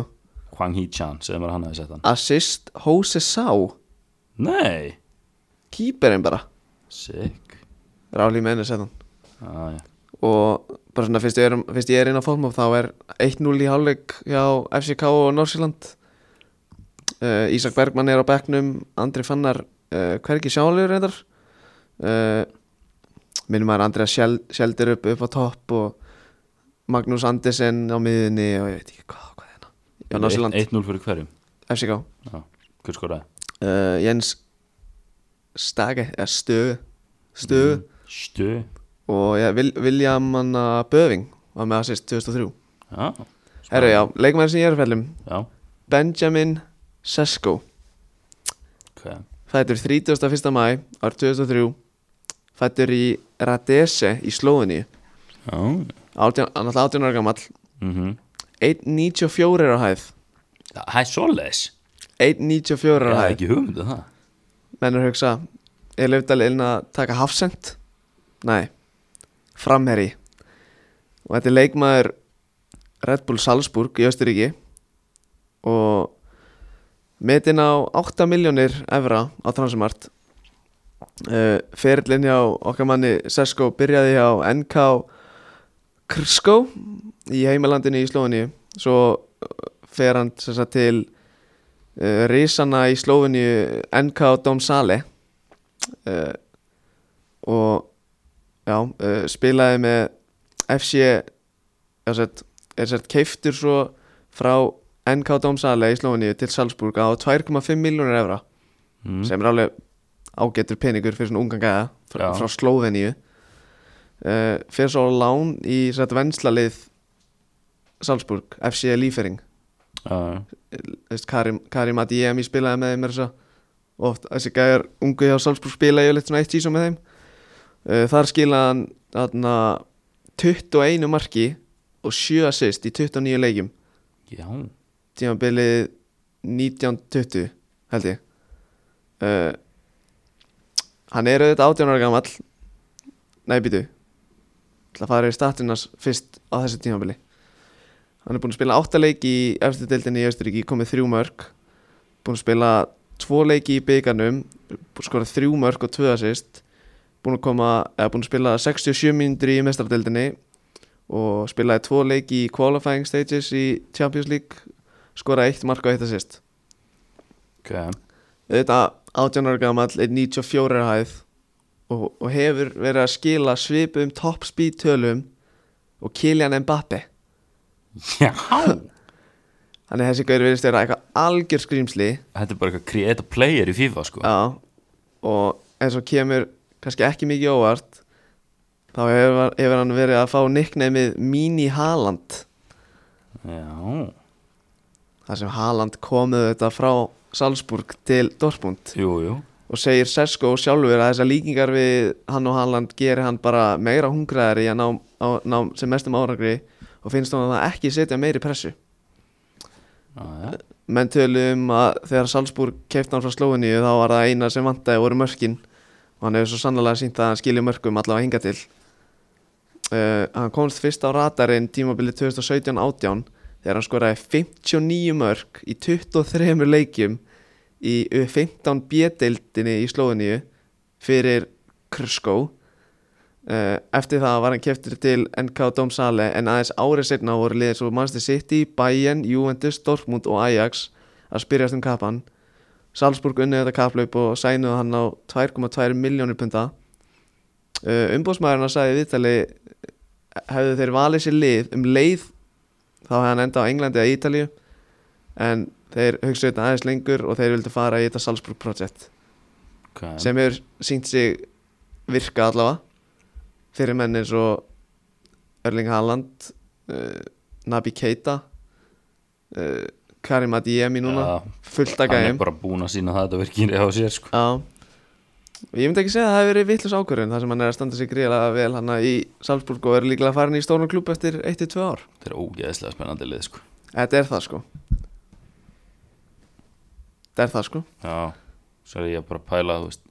Hwang Hee Chan, segðum að hann hefði sett hann
Assist Hose Sá
Nei,
Kýperinn bara hérna.
sick
Ráli með henni setan
ah, já.
Og bara svona fyrst ég er, um- fyrst ég er inn á fólkmóf þá er 1-0 í hálfleik hjá FCK og Norsjöland uh, Ísak Bergmann er á bekknum Andri Fannar uh, hvergi sjálfur reyndar uh, minnum maður Andri að sjel, sjeldir upp upp á topp og Magnús Andersen á miðinni og ég veit ekki hvað, hvað er hérna hjá Norsjöland,
1-0 fyrir hverjum
FCK uh,
Já, hver skoraði?
Eh, Jens Stage, eða Stögu Stögu
Mm. Stö
og ja, Vil, William Anna Böving var með assist 2003
Já,
Herru, já, leikmæður sem ég er að fjallum
já,
Benjamin Sesko
ok
Fættur 31. mæ ár 2003 Fættur í Radese í Slóðinni
Já,
Náttúrulega 18 ára gamall
mhm
1.94 er á hæð
Það er svoleiðis
1.94
Ég
er
hef
hæg
ekki hugmyndu það
menn er að hugsa er Laufdal einn að taka hafsend? Nei, framherri og þetta er leikmaður Red Bull Salzburg í Östuríki og metin á 8 miljónir evra á transumart uh, ferillin hjá okkar manni Sesko byrjaði hjá NK Krsko í heimalandinu í Slóðinni svo eh, fer hann sem sagt, til uh, Rísana í Slóðinni NK Domsale uh, og já, uh, spilaði með FC já, sett, er sett keiftur svo frá NK Domsale í Slóðinni til Salzburg á 2,5 miljónir evra
mm.
sem er alveg ágættur peningur fyrir svona ungan gæða frá,
Já.
frá Slóðiníu uh, fyrir svo á lán í sætt vennslalið Salzburg, FC Lífering
Já,
veist, Karim, Karim Adiemi spilaði með þeim er þess að oft þessi gæjar ungu hjá Salzburg spilaði yfirleitt svona eitt sísum með þeim uh, þar skilaði hann þarna 21 marki og 7 assist í 29 leikjum
já,
tímabilið 1920 held ég uh, hann er auðvitað 18 ára gamall nei býtu ætla að fara í statunas fyrst á þessu tímabili hann er búinn að spila 8 leik í efstu deildinni í Austuríki, komið 3 mörg búinn að spila 2 leiki í byggarnum skorað 3 mörg og 2 assist búinn að koma, eða búinn að spila 67 mínútur í mestardeldinni og spilaði 2 leiki í qualifying stages í Champions League skora eitt mark og eitt assist
ok
þetta 18 ára gamall er 94 ára hæð og, og hefur verið að skila svipum top speed tölum og Kylian Mbappe
Já,
þannig þessi gaur verðist vera eitthvað algjör skrýmsli
þetta er bara eitthvað create a player í FIFA sko
já, og eins og kemur kannski ekki mikið óvart þá hefur, hefur hann verið að fá nicknameið Mini Haaland
Já,
þar sem Haaland komið þetta frá Salzburg til Dortmund
jú, jú
og segir Sesko sjálfur að þessar líkingar við hann og Haaland gerir hann bara meira hungraðar í að ná, á, ná sem mestum árangri og finnst hann að það ekki setja meiri pressu
Já, já,
menn tölum að þegar Salzburg keipt hann frá Slóiníu þá var það eina sem vantaði voru mörkin og hann hefur svo sannlega sínt að hann skilja mörkum allavega hinga til uh, hann komst fyrst á radarinn tímabilið 2017-18 þegar hann skoraði 59 mörk í 23 leikjum í 15 B-deildinni í Slóiníu fyrir Krsko uh, eftir það var hann keftur til NK Domsale en aðeins árið setna voru liðið svo Manchester City, Bayern, Juventus, Dortmund og Ajax að spyrjast um kapan Salzburg unnið þetta kaplaup og sænuðu hann á 2,2 miljónir punda uh, umbóðsmaðurinn að sagði í viðtali hefðu þeir valið sér lið um leið þá hefði hann enda á Englandi eða Ítalíu en þeir hugsaðu þetta aðeins lengur og þeir vildu fara í þetta Salzburg project
ok
sem hefur sínt sig virka allavega fyrir menn eins og Erling Haaland uh, Nabi Keita uh, Karim Adiemi núna
Já,
fullt að
Hann er
gæm
bara búinn að sína það að þetta virkir á sér sko
Já Og Ég myndi ekki segja að það hefur verið vittlust ákvörðun þar sem hann er að standa sig gríðlega vel hann í Salzburg og er líklega farin í stóran klúb eftir 1-2 ár
Þetta er ógeðslega spennandi lið sko
Þetta er það sko Þetta er það sko
Já, svo er ég að bara pæla þú veist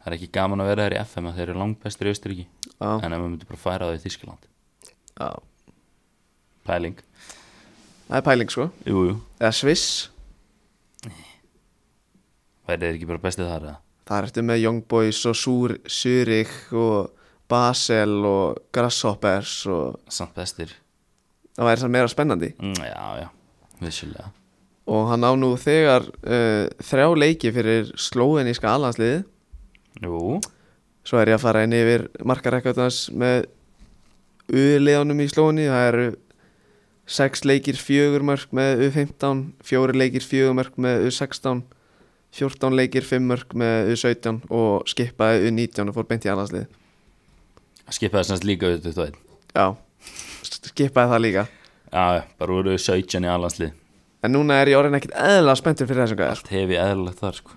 Það er ekki gaman að vera þær í FM að þeir eru langbestir í Austuríki
Já,
En ef maður myndi bara færa það í Þískaland
já.
Pæling,
Það er pæling sko
jú, jú
Eða Sviss
Værið þið ekki bara bestið þar eða?
Það er eftir með Young Boys og Súr, Zurich og Basel og Grasshoppers og
Samt bestir
það væri sann meira spennandi
Mm, Já, já, vissulega
og hann á nú þegar uh, þrjá leiki fyrir slóiníska alhansliði
Jú,
svo er ég að fara inn yfir markarekkjöldans með U-leðunum í slóinni það eru 6 leikir fjögur mörg með U15 4 leikir fjögur mörg með U16 14 leikir 5 mörg með U17 og skipaði U19 og fór beint í alhanslið
skipaði semst líka við 21
Já, skipaði það líka
Já, já, bara voru 17 í alhanslið
En núna er ég orðin ekkit eðla spenntur fyrir þessum gæðar
Allt hefi eðlilegt þar sko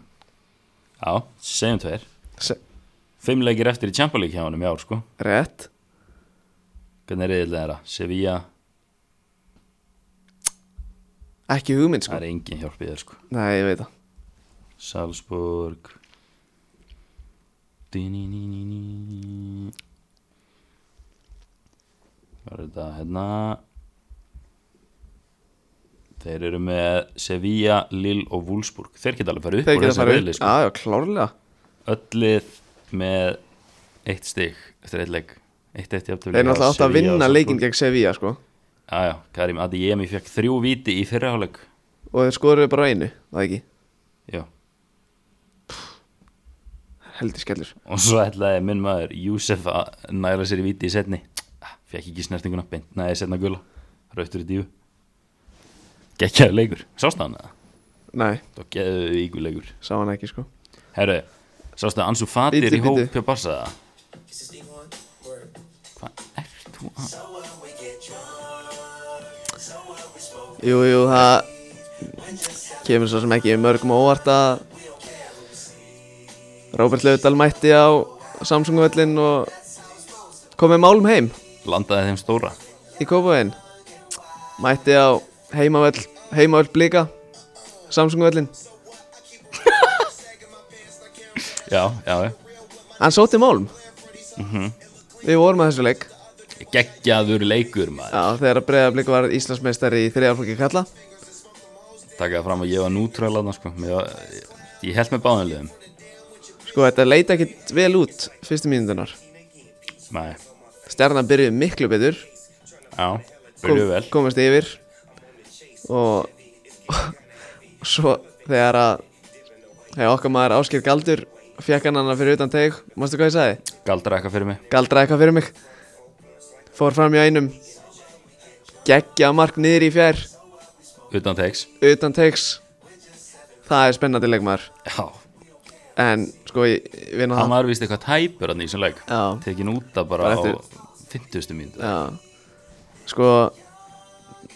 Já, segjum tveir
Se-
Fimm leikir eftir í Champions League hjá honum í ár sko
Rétt
Hvernig er reyðilega þeirra? Sevilla
Ekki hugmynd
það
sko
er engin hjálp í þér sko
Nei, ég veit það
Salzburg Dí-ní-ní-ní-ní. Hvað er þetta hérna Þeir eru með Sevilla, Lille og Wolfsburg Þeir geta alveg farið upp
Þeir
úr
geta
þessari
fara
riðli,
upp Ah.
sko.
Já, já, klárlega
Öll lið með eitt stig eftir eitt leik Eitt eftir jafntefli
Þeir
hjá
náttúrulega átt að
Sevilla og
vinna
Salzburg.
leikinn gegn Sevilla sko
Já, já, Karim Adeyemi fekk þrjú víti í fyrraháleik
Og þeir skoruðu bara einu, það ekki
Já,
Heldi skellur
og svo ætlaði minn maður Júsef að næla sér í viti í setni fekk ekki snertinguna beint næði setna gula, rautur í dífu geggjaður leikur sástu hann að
Nei,
það var geðu ígur leikur
sá hann ekki sko
herru, sástu að Ansu Fati er
Bíddu,
í hóp
bíddu.
hjá Barsa
Is this thing on? Word.
hvað ert þú að
So what we get drunk. So what we smoke.
Jú, jú, það kemur svo sem ekki mörgum á óvart að Róbert Laudal mætti á Samsung-völlin og kom með málum heim
landaði þeim stóra
í Kópavegin mætti á heimavöll heimavöll blika Samsung-völlin
já, já,
hann sótti málum við vorum að þessu leik
geggjaður leikur maður
Já, þegar Breiðablík var Íslandsmeistari í þriðaflokki kalla
takaði fram að ég var nútrál aðna sko. ég, var- ég, ég held með báðum liðum
sko þetta leita ekkit vel út fyrstu mínundunar
Nei.
stjarnan byrjuði miklu betur
já, byrjuðu vel
komast yfir og og svo þegar að þegar okkar maður Ásker Galdur fekk hann hana fyrir utan teg mástu hvað ég sagði?
galdra eitthvað fyrir mig
Galdra eitthvað fyrir mig fór fram hjá einum geggja mark niður í fjær
utan teiks
utan tegs það er spennandi leikmaður
já,
en sko ég, ég vinna
hann
það
var vist eitthvað tæpur hann í þessum leik
Já.
tekin út að bara
Bara
á
eftir-
50. mínútu
Já, sko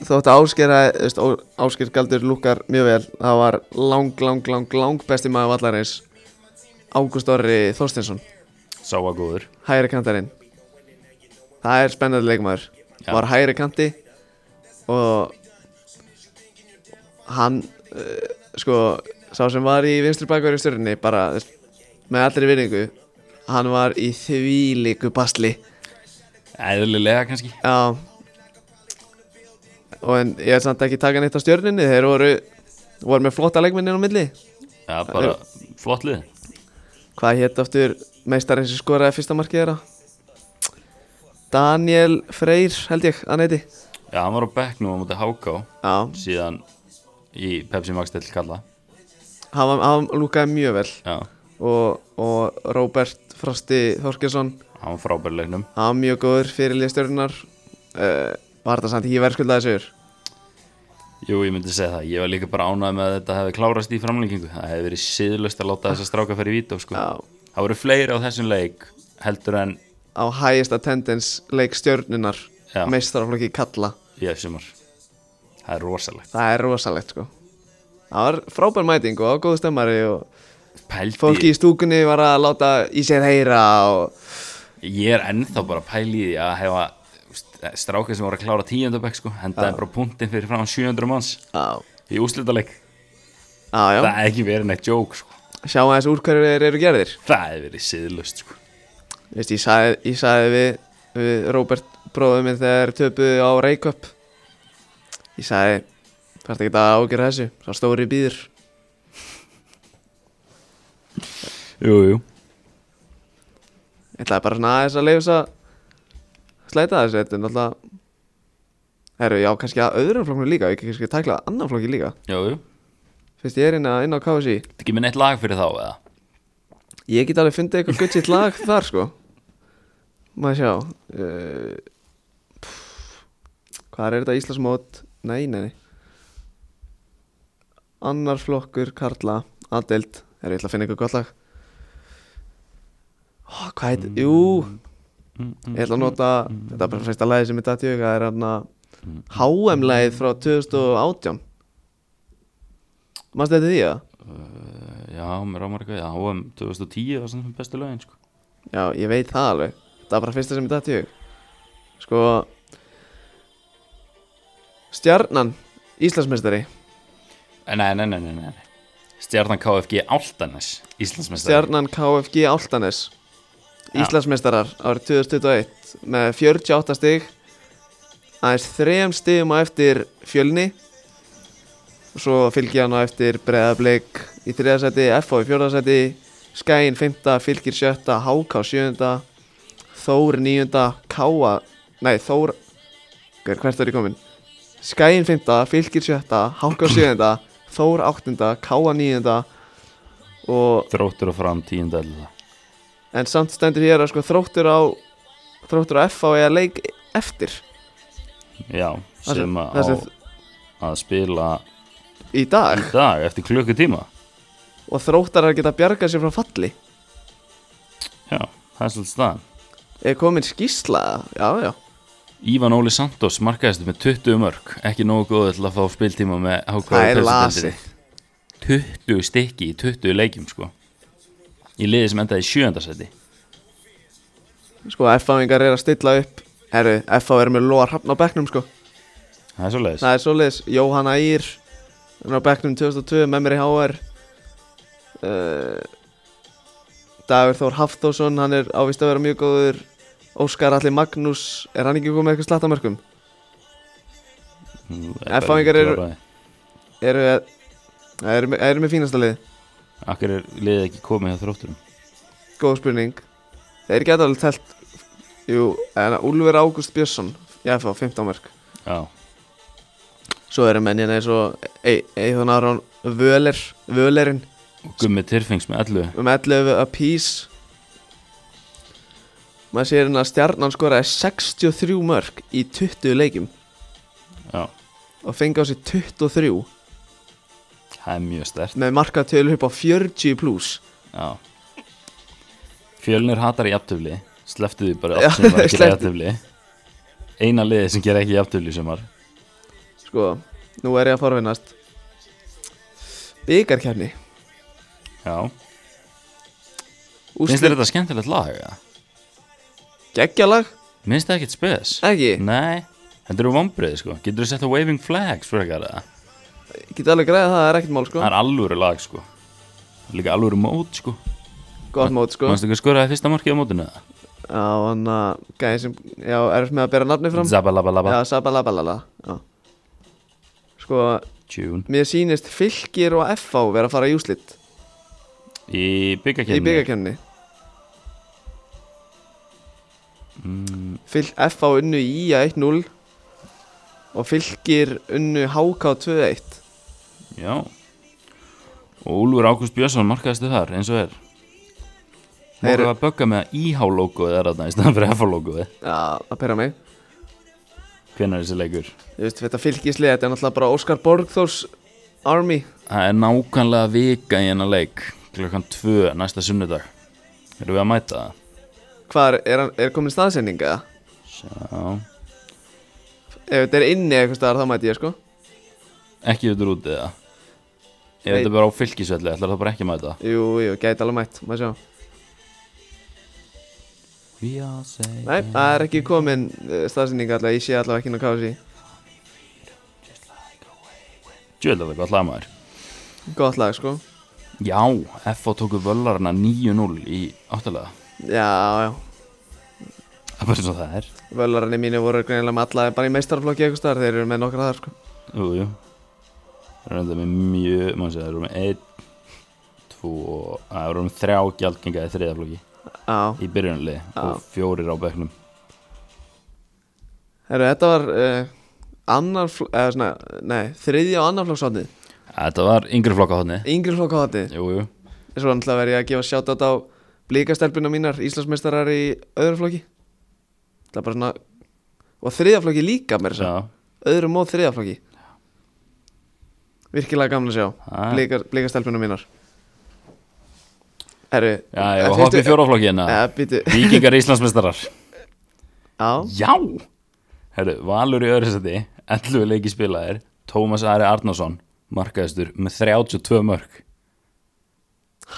þótt að áskera ásker galdur lukkar mjög vel það var lang, lang, lang, lang besti maður vallarins Ágúst Orri Þorstinsson,
sá að góður
hægri kantarinn það er spennandi leikmaður
Já.
var hægri kanti og hann uh, sko, sá sem var í vinstri bakverju stjörnni bara þú veist, með allri vinningu hann var í þvílíku basli
eðlilega kannski
Já Og en ég er samt ekki taka neitt á stjörninni Þeir voru, voru með flotta leikminni á milli
já, bara flott lið
Hvað hétt aftur meistarinn sem skoraði fyrsta markið þeirra? Daniel Freyr held ég, hann heiti
já, hann var á bekknum á móti Háká
Já,
síðan í Pepsi Max til Kalla
hann, var- hann lúkaði mjög vel
já,
Og, og Robert Frosti Þorkesson
hann var frábær í leiknum
Hann var mjög góður fyrir liðstjörnunar uh, Var þetta samt ekki verðskuldaði sigur?
jú, ég myndi segja það, ég var líka bara ánægð með að þetta hefði klárast í framlengingu það hefði verið siðlust að láta þessa stráka fyrir vító sko.
Já
það voru fleiri á þessum leik heldur en
Á hægista tendens leik stjörnunar
Já.
Meistaraflokki kalla
í F-sumar það er rosalegt
Það er rosalegt sko Það var frábær mæting og góð stemmari og
Pældi,
fólki í stúkunni var að láta í sér heyra og
Ég er ennþá bara að pæla í því að hefa strákið sem voru að klára tíundabæk sko, hendaði bara punktinn fyrir frá 700 manns
Já,
í úslitaleg
já,
það er ekki verið neitt jók sko.
sjá aðeins úr hverju þeir eru gerðir
það hefur verið siðlust sko.
Veist, ég sagði, ég sagði við, við Róbert bróðum minn þegar þeir töpuðu á Reykjöp Ég sagði, þarf ekki að ágjöra þessu, svo stóri býður
jú, jú.
Ég ætlaði bara svona aðeins að leifa þess að slæta þessu, þetta er náttúrulega Herru, já, kannski að öðrum flokknu líka, ég kannski að tækla annan flokki líka
Jú, jú.
Fyrst ég er inn, inn á KFC
Þetta ekki með neitt lag fyrir þá eða?
Ég get alveg fundið eitthvað guttsitt lag þar sko Maður sjá uh, Hvað er þetta Íslandsmót? Nei, nei, nei Annar flokkur Karla Adelt Er ég ætla að finna eitthvað gott lag Ó, Hvað heit? Jú Ég ætla að nota Þetta er bara fyrsta lagi sem er datt í huga Það er hann HM-lagið frá 2018 Manstu þetta því að?
Já, mér ámar eitthvað, já, HM 2010 var svona bestu lögin sko.
Já, ég veit það alveg Það er bara fyrsta sem ég dætti hug Sko Stjarnan Íslandsmeistari
Eh, Nei, nei, nei, nei, nei. Stjarnan KFG Áltanes Íslandsmeistar
Stjarnan KFG Áltanes Íslandsmeistarar árið 2021 með 48 stig aðeins þrejum stigum á eftir fjölni og svo fylgja hann á eftir breðablik í þriðasæti, FH í fjórðasæti Skæin 5, fylgir 7 HK 7, Þór 9 Káa, nei Þór hver, hvert er ég komin Skæin 5, fylgir 7 HK 7, Þór 8 Káa 9 og
Þróttur og fram tíunda elda
En samt stendur hér að sko þróttur á Þróttur á FH eða leik eftir
Já,
Það
sem
sem-
að,
það
á,
sem-
að spila
í
í
dag
dag eftir klukkutíma
Og þróttarar geta bjargað sér frá falli
Já, það er svolítið staðan
Er komin skýrsla Já, já
Ívan Óli Santos markaðist með 20 mörg ekki nógu góð til að fá spiltíma með HK
Það er
presidentinni.
lasið.
20 stykki í 20 leikjum sko í liði sem endaði í sjöndasæti
Sko FH-ingar er að stilla upp Herru, FH er með Lóa Hrafn á bekknum sko
það er svolítið
Það er svoleiðis Jóhanna Ír Hún er á bekknum 2002 með mér í HR uh, Dagur Þór Hafþórsson Hann er ávist að vera mjög góður Óskar Alli Magnús Er hann ekki komið eitthvað slattamörkum? FH-ingar eru- Eru, eru, eru með fínasta liði
Akkur er liðið ekki komið hjá þrótturum
Góð spurning Þeir geta alveg telt Jú, en Úlfur Ágúst Björnsson Ég fá 15 mörg
Já,
Svo eru menn hérna eins og Eithon Aron Völer Völerinn
og Gummi Tyrfings með 11
um 11 að pís Maður sér hérna að stjarnan skoraði 63 mörg í 20 leikjum
Já,
og fengi á sig 23
það er mjög stert
með markatölu upp á 40 pluss
Já Fjölnir hatar jafntöfli Sleftu því bara
Já,
allt sem var að gera
slepptu.
jafntöfli Eina liðið sem gera ekki jafntöfli sem var
Sko, nú er ég að forvinnast Byggarkefni
Já, finnst þér þetta skemmtilegt lag? Ja?
Geggjalag?
Minnst það ekkert spes?
Ekki?
Nei, þetta eru vombriði sko Getur þú sett að Waving Flags fyrir ekkert það?
Sko. Geti alveg græðið það, það er ekkert mál sko
Það er alvöru lag sko Líka alvöru mót sko
Gott mót sko
Manstu ekki að skoraði fyrsta markið á mótinu það?
Já, hann að gæði sem Já, er með að bera nafni fram
Zabalabalaba
Já, sabalabalala Já Sko,
Tune
mér sýnist fylgir og FH vera að fara í úslit
Í
Í
byggakefni
byggakefni mm. Fyl, FH unnu í að 1-0 Og fylgir unnu HK 2-1
Já Og Úlfur Ágúst Björnsson markaðist þar eins og er Má
Þeir-
eru að bögga með að IH-logoið er þarna í staðan fyrir FH-logoið
Já, að pera mig
Hvernig er þessi leikur?
Þú veist, þetta fylgislega, þetta er náttúrulega bara Óskar Borgþórs Army
Það er nákvæmlega vika í hennar leik Klokkan 2 næsta sunnudag Erum við að mæta það?
Hvað er, er, hann- er komin staðsending eða?
Sjá
Ef þetta er inni eitthvað staðar þá mæti ég sko
Ekki við drútið það Ef
Nei.
þetta er bara á fylgisvelli, ætlar það bara ekki að mæta
Jú, jú, gæti alveg mætt, maður sjá
We are safe
Nei, það er ekki komin uh, staðsending allavega, ég sé allavega ekki inn á kási
Tjöldar það gott lag maður
Gott lag sko
Já, FH tóku völlarna 9-0 í áttalega
Já, já,
Það er bara svo það er
völararni mínu voru greinilega með alla bara í meistarflokki eitthvað staðar, þeir eru með nokkra þar sko
Jú, jú Það er enda með mjög, maður sé, það eru með einn, tvo, að það eru með þrjá gjaldgenga í þriðaflokki
Já,
í byrjunarliði og fjórir á bekknum
herru, þetta var uh, annar, fl- eða svona, nei, þriðja og annar flokksátnið
Þetta var yngri flokka hodni
Yngri flokkátnið,
Jú, jú,
svo náttúrulega verið ég að gefa sjátt á blíkastelpina mínar, Íslandsmeistarar í öðrum flokki Það er bara svona, og þriðja flokki líka mér svo
já,
öðrum og þriðaflokki virkilega gaman að
Ha.
sjá Blika- blika stelpunum mínar herru eh,
já, já, og hoppi í fjóraflokkina
ja, býtu,
Víkingar Íslandsmeistarar
já,
Já Herru, Valur í öðru seti 11 leiki spilaðir Tómas Ari Arnason markaðistur með 32 mörg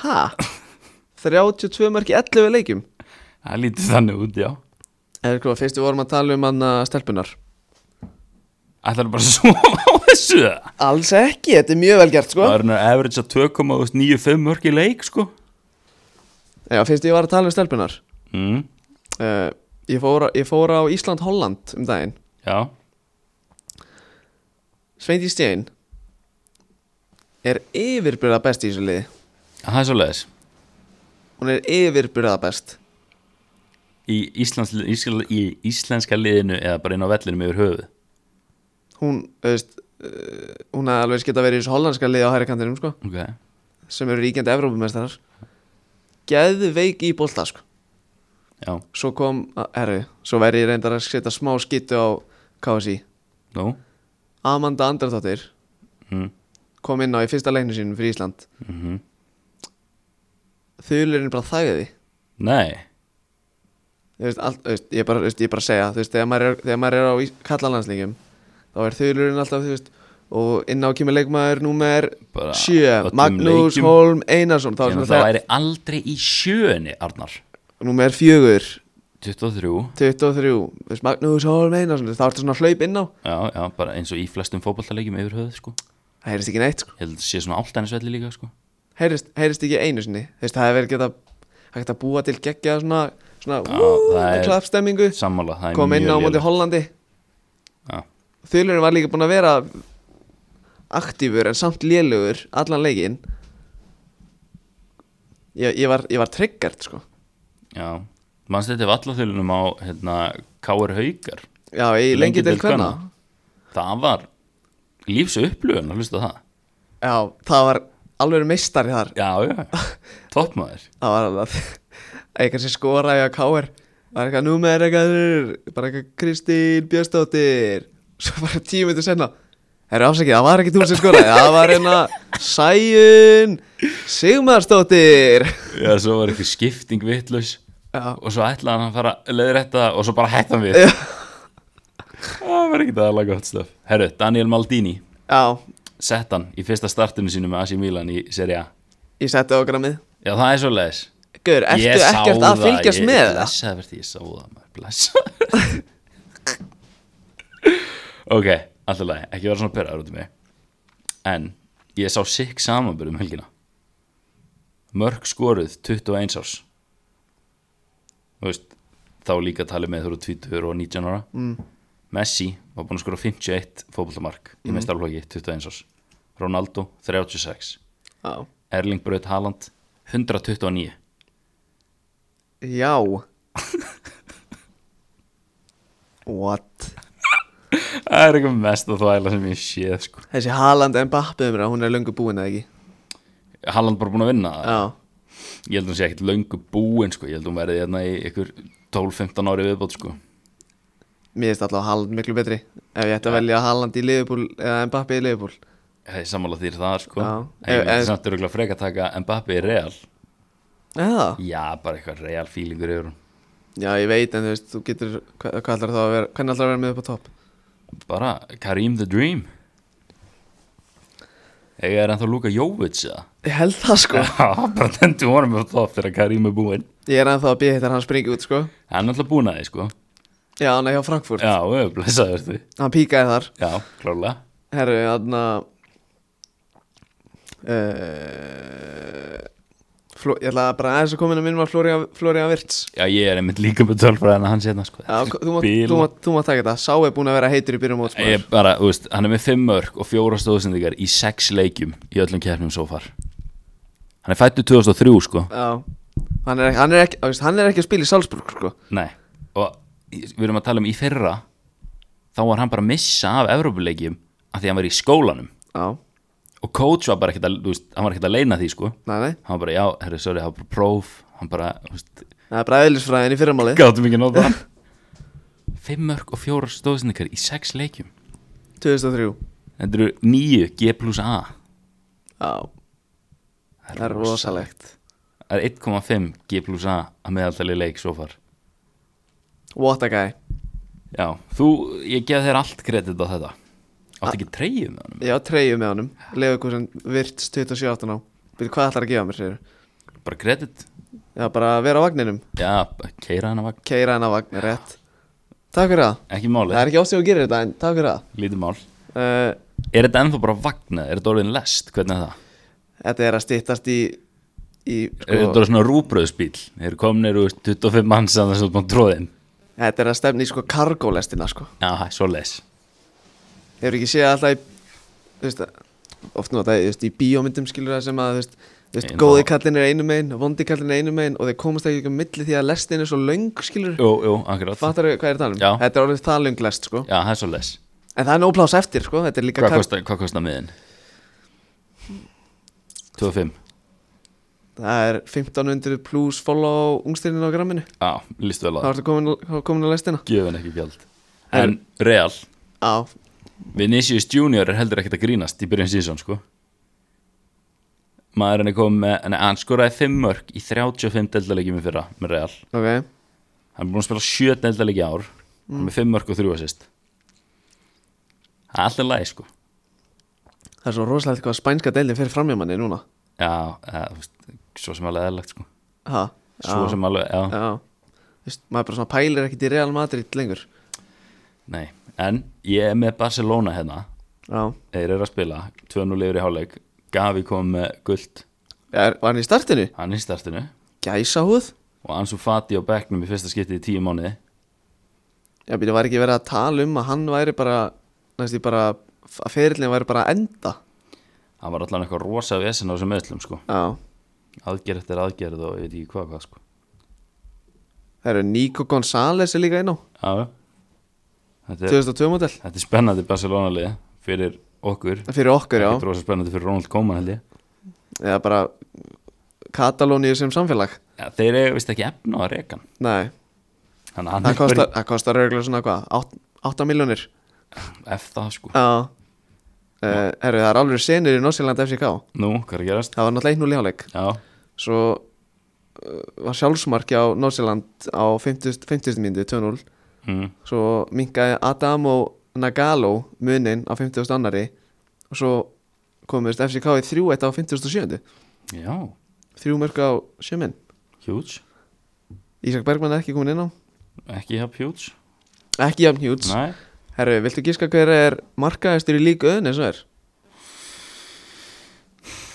ha 32 mörg í 11 leikjum
Það lítið þannig út, já
eh, eða sko, fyrst við vorum að tala um hann stelpunar
Ætlar bara að sofa á þessu það?
Alls ekki, þetta er mjög vel gert sko
Það er hann að average að 2,95 mörg í leik sko
Já, finnst ég var að tala um stelpunar
mm,
uh, ég, fór, ég fór á Ísland-Holland um daginn
Já,
Sveindi Stein er yfirbyrða best í þessu liði
það er svo leiðis
hún er yfirbyrða best
í, Íslands, ísl, í íslenska liðinu eða bara inn á vellinum yfir höfuð
hún, þú veist uh, hún hafði alveg sketa verið í þessu hollandska liði á hæri kantinum sko,
Ok,
sem eru ríkjandi Evrópumestrar geðveik í bolta sko.
já,
svo kom, að- herru, svo verði ég reyndar að setja smá skittu á KSI
nú
Amanda Andardóttir
mm,
kom inn á í fyrsta leiknum sínum fyrir Ísland
mm
þulurinn bara þægði
Nei,
Þú veist, allt, þú veist, ég, bara, þú veist, ég bara segja þú veist, þegar, maður er, þegar maður er á kallalandsleikjum þá er þulurinn alltaf þú veist, og inn á kemur leikmaður númer
Bara
7,
öllum
Magnús
leikjum.
Holm Einarsson þá er
þannig
svona
að það
það,
væri aldrei í sjöunni Arnar
númer 4
23,
23, þú veist, Magnús Holm Einarsson þá er þetta svona hlaup inn á
já, já, bara eins og í flestum fótballtalegjum yfir höfuð sko
það heyrist ekki neitt, sko.
Ég held að það sé svona áltanisvelli líka sko
heyrist, heyrist ekki einu sinni þú veist, það er verið geta, það geta búa til geggja svona, svona
Já,
wú,
það er-
klappstemmingu
Sammála, það er
kom inn á
mjög
móti
lélegt.
Hollandi
Já,
Þulurinn var líka búinn að vera aktífur en samt lélugur allan leikinn ég, ég var, ég var triggert sko
já Manst þetta vallathulunum á hérna, K.R. Haukar
Já, í lengi til hverna
Það var lífs upplöfun að hlusta á það
Já, það var alveg meistari þar
Já, já, toppmaður
Það var alveg eitthvað sem skoraði á káir Það var eitthvað númer eitthvað bara eitthvað Kristín Björnsdóttir Svo bara tíu myndir senna Það eru afsakið, það var ekki þú sem skoraði Það var hérna Sæjun Sigmarsdóttir
Já, svo var eitthvað skipting vitlaus
Já.
Og svo ætlaði hann að fara leiður þetta Og svo bara hætti hann við
Já.
Það var ekkert aðalega gott stöf Herru, Daniel Maldini
Já,
Sett hann í fyrsta startinu sínu með AC Milan í Serie A
ég setti á grammið
Já, það er svo leiðis
Gaur, ertu ekkert að fylgjast
ég,
með það?
Blessaður, ég sá það maður Blessaður Ok, alltaf leið Ekki vera svona perraður út í mig En ég sá sikk samanbyrðum helgina Mörg skoruð 21 árs Þú veist Þá líka talið með þú eru 20 og 19 ára mm. Messi var búinn að skora 51 fótbollamark í mm. meistarflokki 21 árs Ronaldo 36
Já.
Erling Braut Haaland 129
Já. What?
Það er eitthvað mest að þvæla sem ég séð sko.
Þessi Haaland Mbappe umra, hún er löngu búin eða ekki?
Halland bara búin að vinna það
Já.
Ég held að hún sé ekkert löngu búin sko. Ég held að hún verði hérna í ykkur 12-15 ári viðbót sko.
Mér finnst alltaf Haaland miklu betri. Ef ég ætti að velja Haaland í Liverpool eða Mbappe í Liverpool.
Það er sammála þýr það sko.
Já.
En Ég
Ef-
myndi
ef-
samt öruglega freka að taka Mbappi í Real
Eða?
Já, bara eitthvað Real feelingur yfir hún
Já, ég veit, en þú veist, þú getur, hvað, hvað ætlar þá að vera, hvernig ætlar að vera með upp á topp?
Bara Karim the Dream Ég er ennþá Luka Jovic eða?
Ég held það, sko.
Já, bara tendu honum upp þá þegar Karim er búinn
Ég er ennþá að býja hittar hann springi út, sko.
Hann er alltaf búin að því sko
Já, hann er hjá Frankfurt.
Já, ö, blessaður því
Hann píkaði þar.
Já, klálega
Herru, hann að... Uh, Fló, ég ætla bara aðeins að koma inn að minnum að Florian, Florian Virts.
Já, ég er einmitt líka með tölfræðina hans hérna sko.
Já, þú mátt-
Bila.
þú mátt- þú mátt taka þetta Sá er búin að vera heitur í byrjum móts
Ég er bara, þú veist, hann er með fimm mörg og fjóra stóðsendingar í sex leikjum í öllum keppnum svo far Hann er fættur 2003 sko
Já Hann er, ekki- hann, er ekki, á, veist, hann er ekki að spila í Salzburg sko.
Nei, og við erum að tala um í fyrra þá var hann bara að missa af Evrópuleikjum að því hann var í skólanum
Já,
og coach var bara ekkert að, þú veist, hann var ekkert að leina því sko
nei, nei
Hann var bara, já, herri, sorry, það var bara próf hann bara, þú veist,
Það er bara eðlisfræðin í fyrramáli
gáttum ekki að nota hann Fimm mörg og fjóra stóðsendingar í sex leikjum
2003
Þetta eru nýju G plus A
Já, það er rosalegt
Það er 1,5 G plus A að meðaltali leik svo far
What a guy
Já, þú, ég gef þér allt kredit á þetta Átt ekki treyjum með honum
Ég á treyju með honum Leifurkursen Virts 27 á Býtu hvað ætlar að gefa mér sér
Bara kredit
Já, bara vera á vagninum
Já, bara keira hennar vagn
Keira henn á vagnin, rétt Takk fyrir það
Ekki máli,
Það er ekki ástæðum að gera þetta en takk fyrir það
lítið mál
uh,
er þetta ennþá bara vagnað, er þetta orðin lest hvernig er það,
Þetta er að styttast í, í
er þetta
sko,
orðin svona rúbröðsbíl þeir komnir úr 25 manns að það er svona tróðin,
Þetta er að stefna í sko kargólestina sko
já, svo les
Hefur ekki séð alltaf í þú veist, oft nú þú veist, í bíómyndum skilur það sem að þú veist, þú veist,
Ein
góði
þá-
kallin er einum megin, vondi kallin er einum megin og þeir komast ekki um milli því að lestin er svo löng skilur,
jú, jú, akkurat,
fattar þau hvað ég er að tala um?
Já.
Þetta er orðið það löng lest sko
já, það er svo les
En það er nóplás eftir sko, þetta er líka
hvað
kar-
kostar, hvað kostar miðin 25
Það er 1500 pluss follow ungstirinn á gramminu
já, lístu vel á
Þá
það,
ertu komin, þá komin á lestina
gefin ekki gjald en real,
Já,
Vinicius Junior er heldur ekkert að grínast í byrjun síðan sko maðurinn er komið með en hann skoraði 5 mörg í 35 deildalegjum í fyrra með real
ok
hann er búin að spila 7 deildalegi ár hann er með 5 mörg og 3 assist það er alltaf læg sko
Það er svo rosalegt hvað spænska deildin fyrir framjá manni núna
já, eða, þú veist, svo sem alveg eðlagt sko
Ha,
svo
já,
sem alveg, já,
Já Þú veist, maður bara svona pælir ekkit í Real Madrid lengur
nei en ég er með Barcelona hérna
Já
þeir eru að spila 2-0 yfir í hálfleik Gavi kom með guld
er, Var hann í startinu?
hann er í startinu
Gæsa húð?
og Ansu Fati á bekknum í fyrsta skipti í tíu mánuði
Já, býtu, var ekki verið að tala um að hann væri bara Næst í bara, að ferillin væri bara að enda
hann var allan eitthvað rosa vesen á þessum meðslum sko.
Já
aðgerð eftir aðgerð og ég veit ekki hvað hvað sko.
Það eru Nico González er líka inn á
Já, já. þetta, er,
2002 model
þetta er spennandi Barcelona liði fyrir okkur
Fyrir okkur, já
þetta er rosa spennandi fyrir Ronald Koeman held ég
Eða bara Katalóníu sem samfélag
ja, þeir eru vist ekki efna á rekan
Nei,
þannig að hann
það
er
kostar,
bara-
það kostar örgulega svona hvað, 8, 8 miljónir
eftir það sko.
Já uh, Herru, það er alveg senir í Norsjöland FCK
nú, hvað er að gerast
Það var náttúrulega einn úr ljáleik
já,
Svo uh, var sjálfsmarki á Norsjöland á 50, 50 myndi, 2-0
mm.
Svo minkaði Adam og Nagalo munin á 50. annari Og svo komist FCK í 3-1 á 57.
já,
Þrjú mörg á sjöminn
huge
Ísak Bergmann er ekki komin inn á
ekki hjá huge
Ekki jafn hjúts
Nei.
Herru, viltu gíska hver er markaðistur í líka öðun eins og er?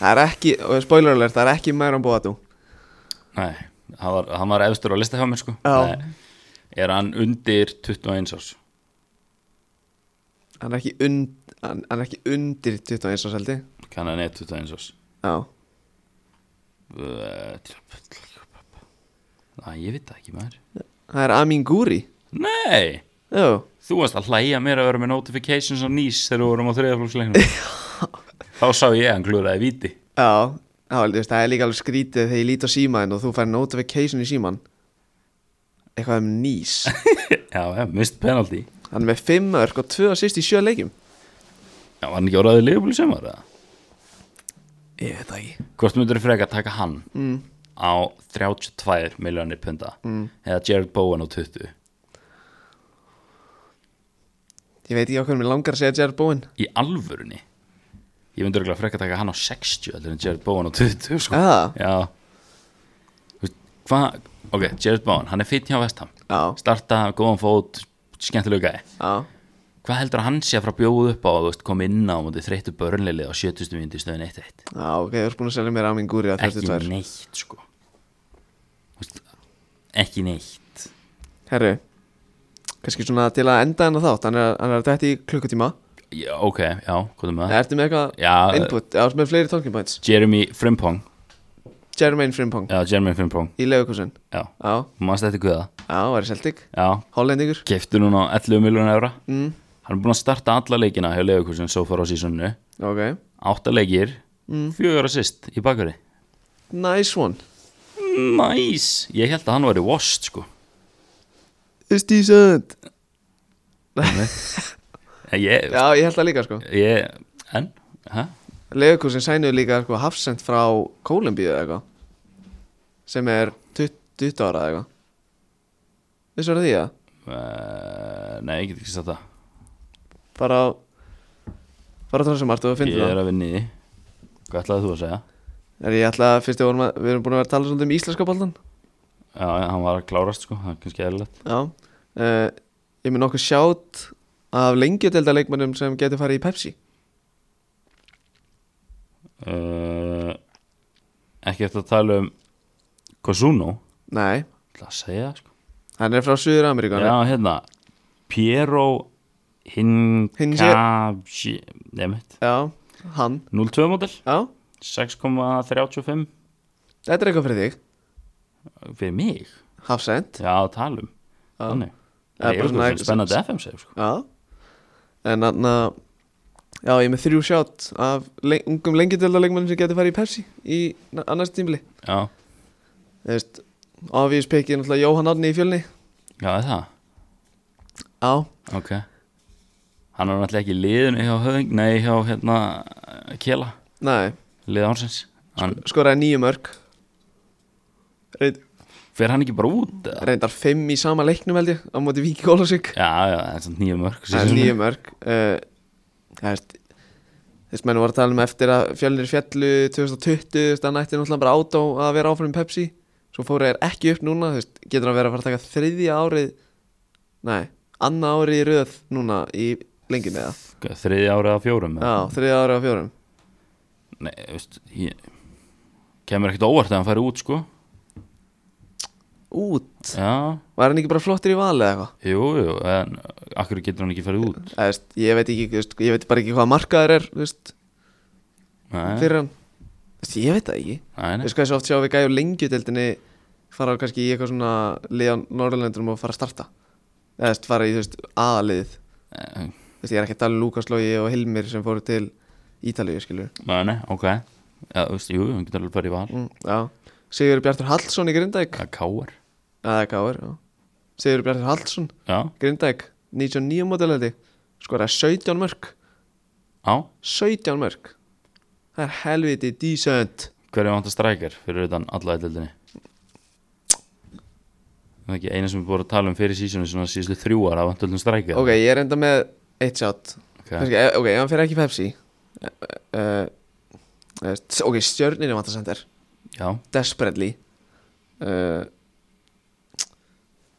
Það er ekki, og spoiler alert, það er ekki Mæran Boatú
Nei, hann var, hann var efstur á lista hjá mér sko
Já.
Nei, Er hann undir 21 árs?
Hann er ekki, und, hann, hann er ekki undir 21 árs held ég
Kann hann er 21 árs?
Já,
Nei, ég veit það ekki maður
það er Amin Guri
Nei,
Já,
þú varst að hlæja mér að vera með notifications á nýs þegar við vorum á þriðaflóksleiknum Þá sá ég hann glúraði víti
já, já þú veist, það er líka alveg skrítið þegar ég lít á símaðin og þú fær notification í síman Eitthvað um nýs
Já, ja, mist penalty
Hann er með 5 örk og 2 assist í 7 leikjum
Já, var hann ekki orðaðið leifbúli sem var það
Ég veit það ekki
Hvort myndur þú freka að taka hann mm. á 32 miljónir punda mm. eða Jared Bowen á 20
Ég veit ekki okkur mér langar að segja Jared Bowen
í alvörunni ég myndi örgulega frekka að taka hann á 60 heldur en Jared Bowen á 20 sko.
Já.
já Þú veist, hvað, ok, Jared Bowen, hann er fýtt hjá Vestham
Ah, Já,
starta, góðan fót, skemmtilega gæði
já
hvað heldur hann sé að fara að bjóða upp á þú veist, kom inn á mútið þreyttu börnlili á 70. vindu stöðin 1-1
Já, ok, þú ert búin að selja mér Amin Guri að
ekki
32
neitt sko Þú veist, ekki neitt
Herru, kannski svona til að enda hennar þátt Hann er, hann er að dætti í klukkutíma
já, ok, já, hvað er með
Nei,
það
Ertu með eitthvað
Já.
input, Ah. já, eh. með fleiri talking points
Jeremy Frimpong,
Jermaine Frimpong,
já, Jeremy Frimpong
í Leifukúsin
já,
Já,
mannst eftir guða
já, væri Celtic,
já,
hollendingur
kefti núna á 11 miljónu evra mm. hann er búinn að starta alla leikina hjá Leifurkursin svo fara á sísunnu
Ok,
8 leikir, mm. 4 assist í bakari
nice one
næs, ég held að hann væri washed sko
It's decent
En Eh, ég,
Já, ég held það líka, sko
ég en, hæ?
Leifukúsin sænuðu líka, sko, hafsend frá Kólumbíu eða eitthvað Sem er 20, 20 ára eða eitthvað Þessu er því, já
Uh, nei, ég get ekki sagt það
Bara á Bara á trónsumart og finnum
ég
það
er að vinni í því. hvað ætlaði þú að segja?
Er ég ætla að fyrst við vorum að, við erum búin að vera að tala svolítið um íslenska boltan
já, já, hann var að klárast sko, það er kannski eðlilegt
Já Eh, uh, Ég mun nokkuð sjátt af lengjudelda leikmönnum sem getur farið í Pepsi
uh, ekki eftir að tala um Kosuno
Nei,
ætla að segja sko.
hann er frá Suður Ameríku
já hérna Piero Hincavci nefnt
já, hann
02 model
Já,
6,35
þetta er eitthvað fyrir þig
fyrir mig
Hafsend
já talum þannig
Já, bara
það er
svona-
eitthvað spennandi FM segir sko
Já En þarna Já, ég er með þrjú sjátt af le ungum lengjadöldarleikmannum sem getur farið í Pepsi í na- annars tímli
já
Þú veist, obvious pick er náttúrulega Jóhann Árni í fjölni
já er það
Já,
ok hann er náttúrulega ekki í liðinu hjá höfing nei hjá hérna Kjela
nei,
lið ánsins hann
skoraði nýju mörg Reynd,
fer hann ekki bara út eða?
Reyndar fimm í sama leiknum held ég á móti Víki Kólasik
já já það er svona nýjum mörg
Það er nýju mörg uh, Það veist Þess menn voru að tala um eftir að fjölnir fjallu 2020, þú veist, hann ætti náttúrulega bara átó að vera áfram í Pepsi Svo fóru þér ekki upp núna, þú veist, getur hann verið að fara að taka þriðja árið Nei, annað árið í röð núna í lengjum eða
þriði árið af fjórum eða?
Já, þriðja árið á fjórum
Nei, þú veist, ég kemur ekkert óvart að hann færi út, sko
Út,
Já,
var hann ekki bara flottir í vali eða eitthvað?
jú, jú, en akkur getur hann ekki farið út
Eða, þú veist, Ég veit ekki, þú veist, ég veit bara ekki hvað markaður er, þú veist,
Nei,
fyrir hann Þú veist, Ég veit það ekki
nei,
Þú
nei,
veist hvað þessu oft sjá við gæjum lengjudeldinni fara kannski í eitthvað svona lið á Norðurlöndunum og fara að starta eða þú veist, fara í þú veist aðalið
nei,
þú veist ég er ekki að tala um Lukas Lógi og Hilmir sem fóru til Ítalíu skilur
nei, nei, ok Já, þú veist, jú, hann getur alveg farið í val
mm, já. Sigur Bjartur Hallsson í Grindæk
Það káar
eða káir Sigur Bjartur Hallsson
Já,
Grindæk 99 modelhaldi skoraði 17 mörg
á,
17 mörg það er helviti decent
hverju vantar strækjar fyrir utan alla eðlildinni Það er ekki eina sem við búin að tala um fyrir sísunni svona síðustu þrjúar að vantar öllum strækjar
ok ég er enda með eitt sjátt
okay.
Kannski, eh, ok, ef hann fyrir ekki Pepsi uh, uh, Ok, stjörninni vantar sender
Já,
Desperately uh,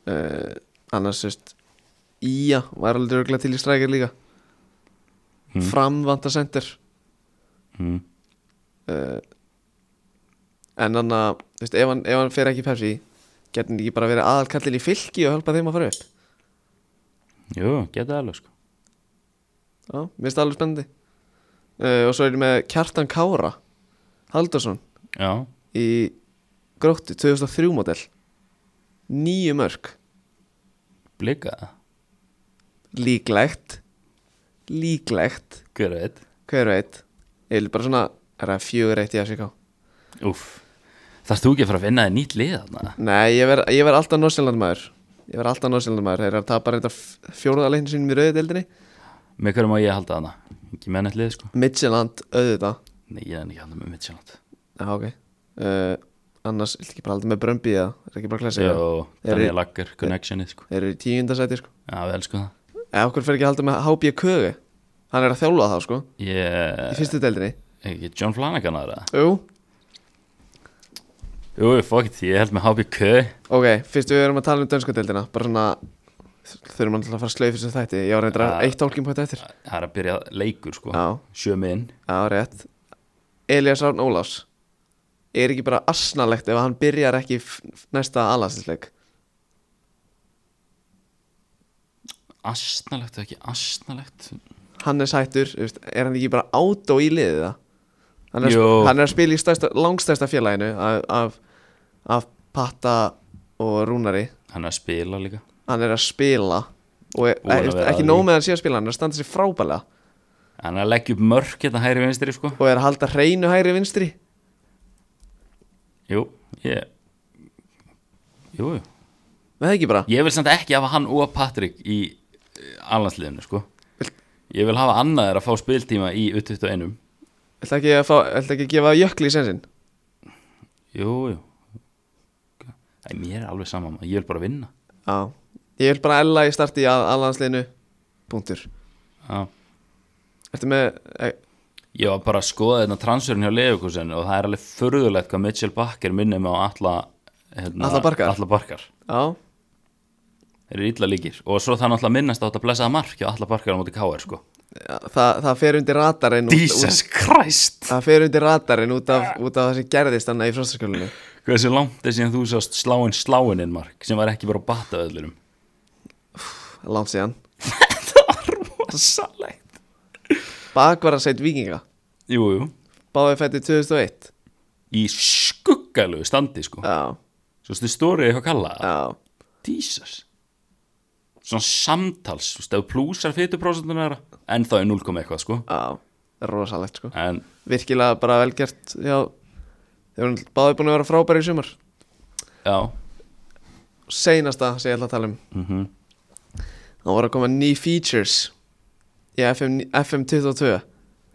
uh, Annars, þú veist Ía, var alveg örgulega til í strækir líka
Mm.
Fram vantar sender
mm.
uh, En hann að, þú veist, ef hann, ef hann fyrir ekki Pepsi Getur hann ekki bara verið aðalkallin í fylki og hjálpa þeim að fara upp
jú, geta alveg, sko
Já, mér finnst það alveg spennandi uh, Og svo er ég með Kjartan Kára Haldarsson
Já,
í gróttu 2003 model nýju mörg
blika það,
líklegt líklegt,
hver veit
hver veit eða bara svona, er það fjögur eitt í FCK
Úff, þarfst þú ekki að fara að finna þér nýtt lið þarna?
nei, ég verð ver alltaf Norsjölandmaður ég verð alltaf Norsjölandmaður, þeir eru að tapa reynda fjóruðarleginn sínum í rauðið deildinni
Með hverju má ég halda þarna? Ekki með neitt lið sko?
Midtjylland, auðvitað
Nei, ég er ekki að halda með Midtjylland
já, ok uh, annars, ég vil ekki bara halda með Brömbi eða, er ekki bara klessi
Jó,
Eru-
Daniel Lager, Connectionið sko
þeir eru í tíundasæti sko
Já, við elskum það
eða okkur fer ekki að halda með HB Köge hann er að þjálfa það sko, í
Ég,
fyrstu deildinni
ekki John Flanagan aðra
jú,
Jú, fokkt, ég held með HBK
Ok, fyrst við erum að tala um dönsku deildina Bara svona Þurfum alltaf að fara slöið fyrir þessu þætti Ég var reyndar
Ja.
uh, eitt álgjum pætt eftir
Það er að byrja leikur sko
Já.
Sjömi inn
Já, rétt Elias Rán Ólafs Er ekki bara asnalegt ef hann byrjar ekki f- næsta alastisleik
Asnalegt eða ekki asnalegt
Hann er sættur, þú veist, er hann ekki bara átó í liðið það? Hann er,
Jú.
hann er að spila í stærsta, langstærsta félaginu af, af, af Patta og Rúnari
Hann er að spila líka
Hann er að spila Og er,
Búinn að
þú veist,
vera
ekki
að
nóg
því.
með að hann sé að spila Hann er að standa sér frábælega
Hann er að leggja upp mörk hérna hægri vinstri sko
Og er að halda hreinu hægri vinstri
Jú, ég Jú, jú
Með það ekki bara
Ég vil samt ekki hafa hann og Patrik í allansliðinu sko Ég vil hafa annaðir að fá spiltíma í U21
Ætla ekki að, fá, ætla ekki að gefa jökli í sensin
Jú, jú Æ, mér er alveg sama maður. Ég vil bara vinna
Já Ég vil bara ella í starti að aðlandsleinu Punktur
Já.
Ertu með e,
Ég var bara að skoða þetta transferin hjá Leifurkusen og það er alveg furðulegt hvað Mitchell Bakker minnir mig á alla hérna,
Atla Barkar?
alla barkar.
Já
Þeir eru illa líkir og svo það náttúrulega minnast á þetta blessaða mark hjá alla barkar á móti K.R. sko
það, það fer undir radarinn út-
Jesus Christ
Það fer undir radarinn út af, út af það sem gerðist hann í frostaskjölunni
Hversu langt er síðan þú sást sláinn sláinninn mark sem var ekki bara að batta öðlurum
Langt síðan
Rosalegt
Bakvaraseit vikinga
Jú, jú
Báði fætti 2001
Í skuggalegu standi sko
Já,
Svo stu stórið eitthvað kalla það
já,
Jesus Svona samtals, þú veist, ef þú plúsar 40% þeirra, en það er 0, eitthvað sko
já Rosalegt sko
En
Virkilega bara velgert Já Þeir eru báði búin að vera frábæri í sumar
já,
Seinasta sem ég ætla að tala um
mm
Það voru að koma ný features Í FM, FM 22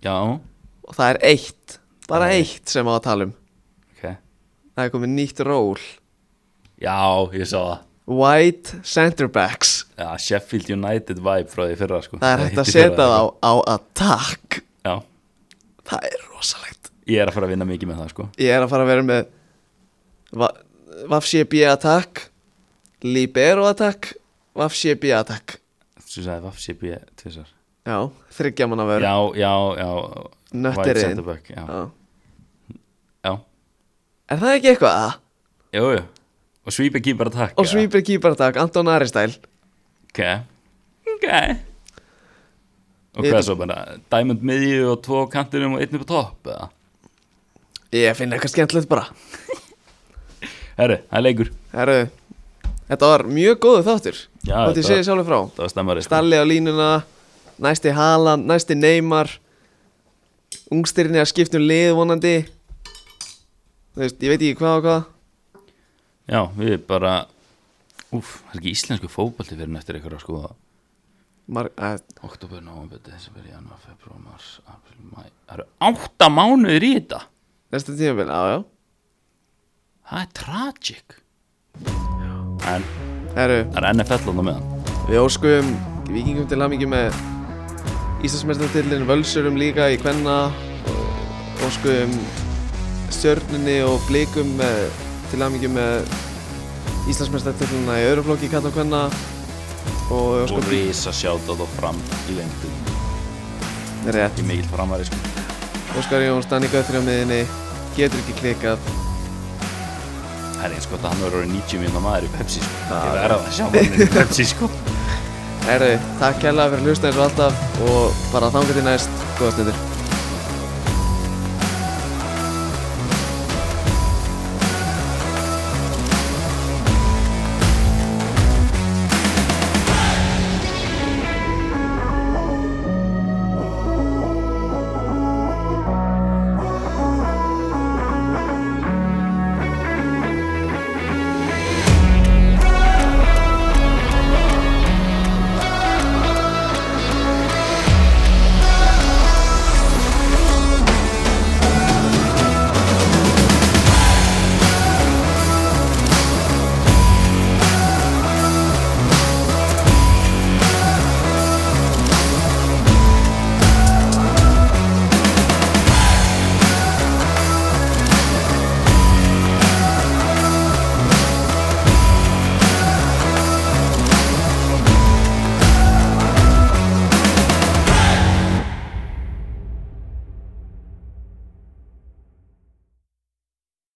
já,
Og það er eitt Bara eitt sem á að tala um
ok
Það er komið nýtt ról
Já, ég sá það
White centerbacks
Já, Sheffield United vibe frá því fyrra sko.
Það er hægt að
hitti
setja
fyrra,
þá á attack
Já,
Það er rosalegt
ég er að fara að vinna mikið með það sko.
Ég er að fara að vera með Va- Vafsjébi attack Libero attack Vafsjébi attack
Svo sagði Vafsip ég tvisar
Já, þryggja manna
Já,
verður
já, já
Nötterinn.
White centre back, Já, já
Er það ekki eitthvað að?
Jú, jú Og sweep ekki bara takk
Og sweeper keeper attack, Anton Ari stæl
Ok Ok Og
Ég-
hvað svo bara Diamond miðju og tvo á kantinum og einn upp á topp eða?
Ég finn eitthvað skemmtilegt bara
Herru, það er leikur
Herru, þetta var mjög góðu þáttur
Já,
Þótt ég
þetta var-
segi sjálfur frá
Það var stemmari sko.
Stalli á línuna, næsti Haaland, næsti Neymar Ungstirinn er að skipta um lið vonandi Þú veist, ég veit ekki hvað og hvað
Já, við bara Úf, það er ekki íslensku fótbalti fyrir eftir ykkur sko. að skoða
Mar að,
Oktober, november, desember, januar, februar, mars, april, mæ Það eru átta mánuðir í þetta
Næsta tímabil, á já
Það er tragic En
Herru,
það er NFL á meðan
við óskuðum vikingum til hamingi með Íslandsmestartillin Völsurum líka í Kvenna og óskuðum stjörnunni og blikum með, til hamingi með Íslandsmestartillina í Öruflokki, Katt og Kvenna og við
Og
óskuðum
risa sjátt á þá fram í lengdu
Rétt
Í mikill framari sko
Óskar Jóns, Danni Gautur á miðinni getur ekki klikkað
Það er eins gott að sko, hann verður orðið 90 minna maður í Pepsi sko
Það-
Ég verða að sjá hann í Pepsi sko
Herru, takk kærlega fyrir hlusta eins og alltaf og bara þangað til næst, góða stundir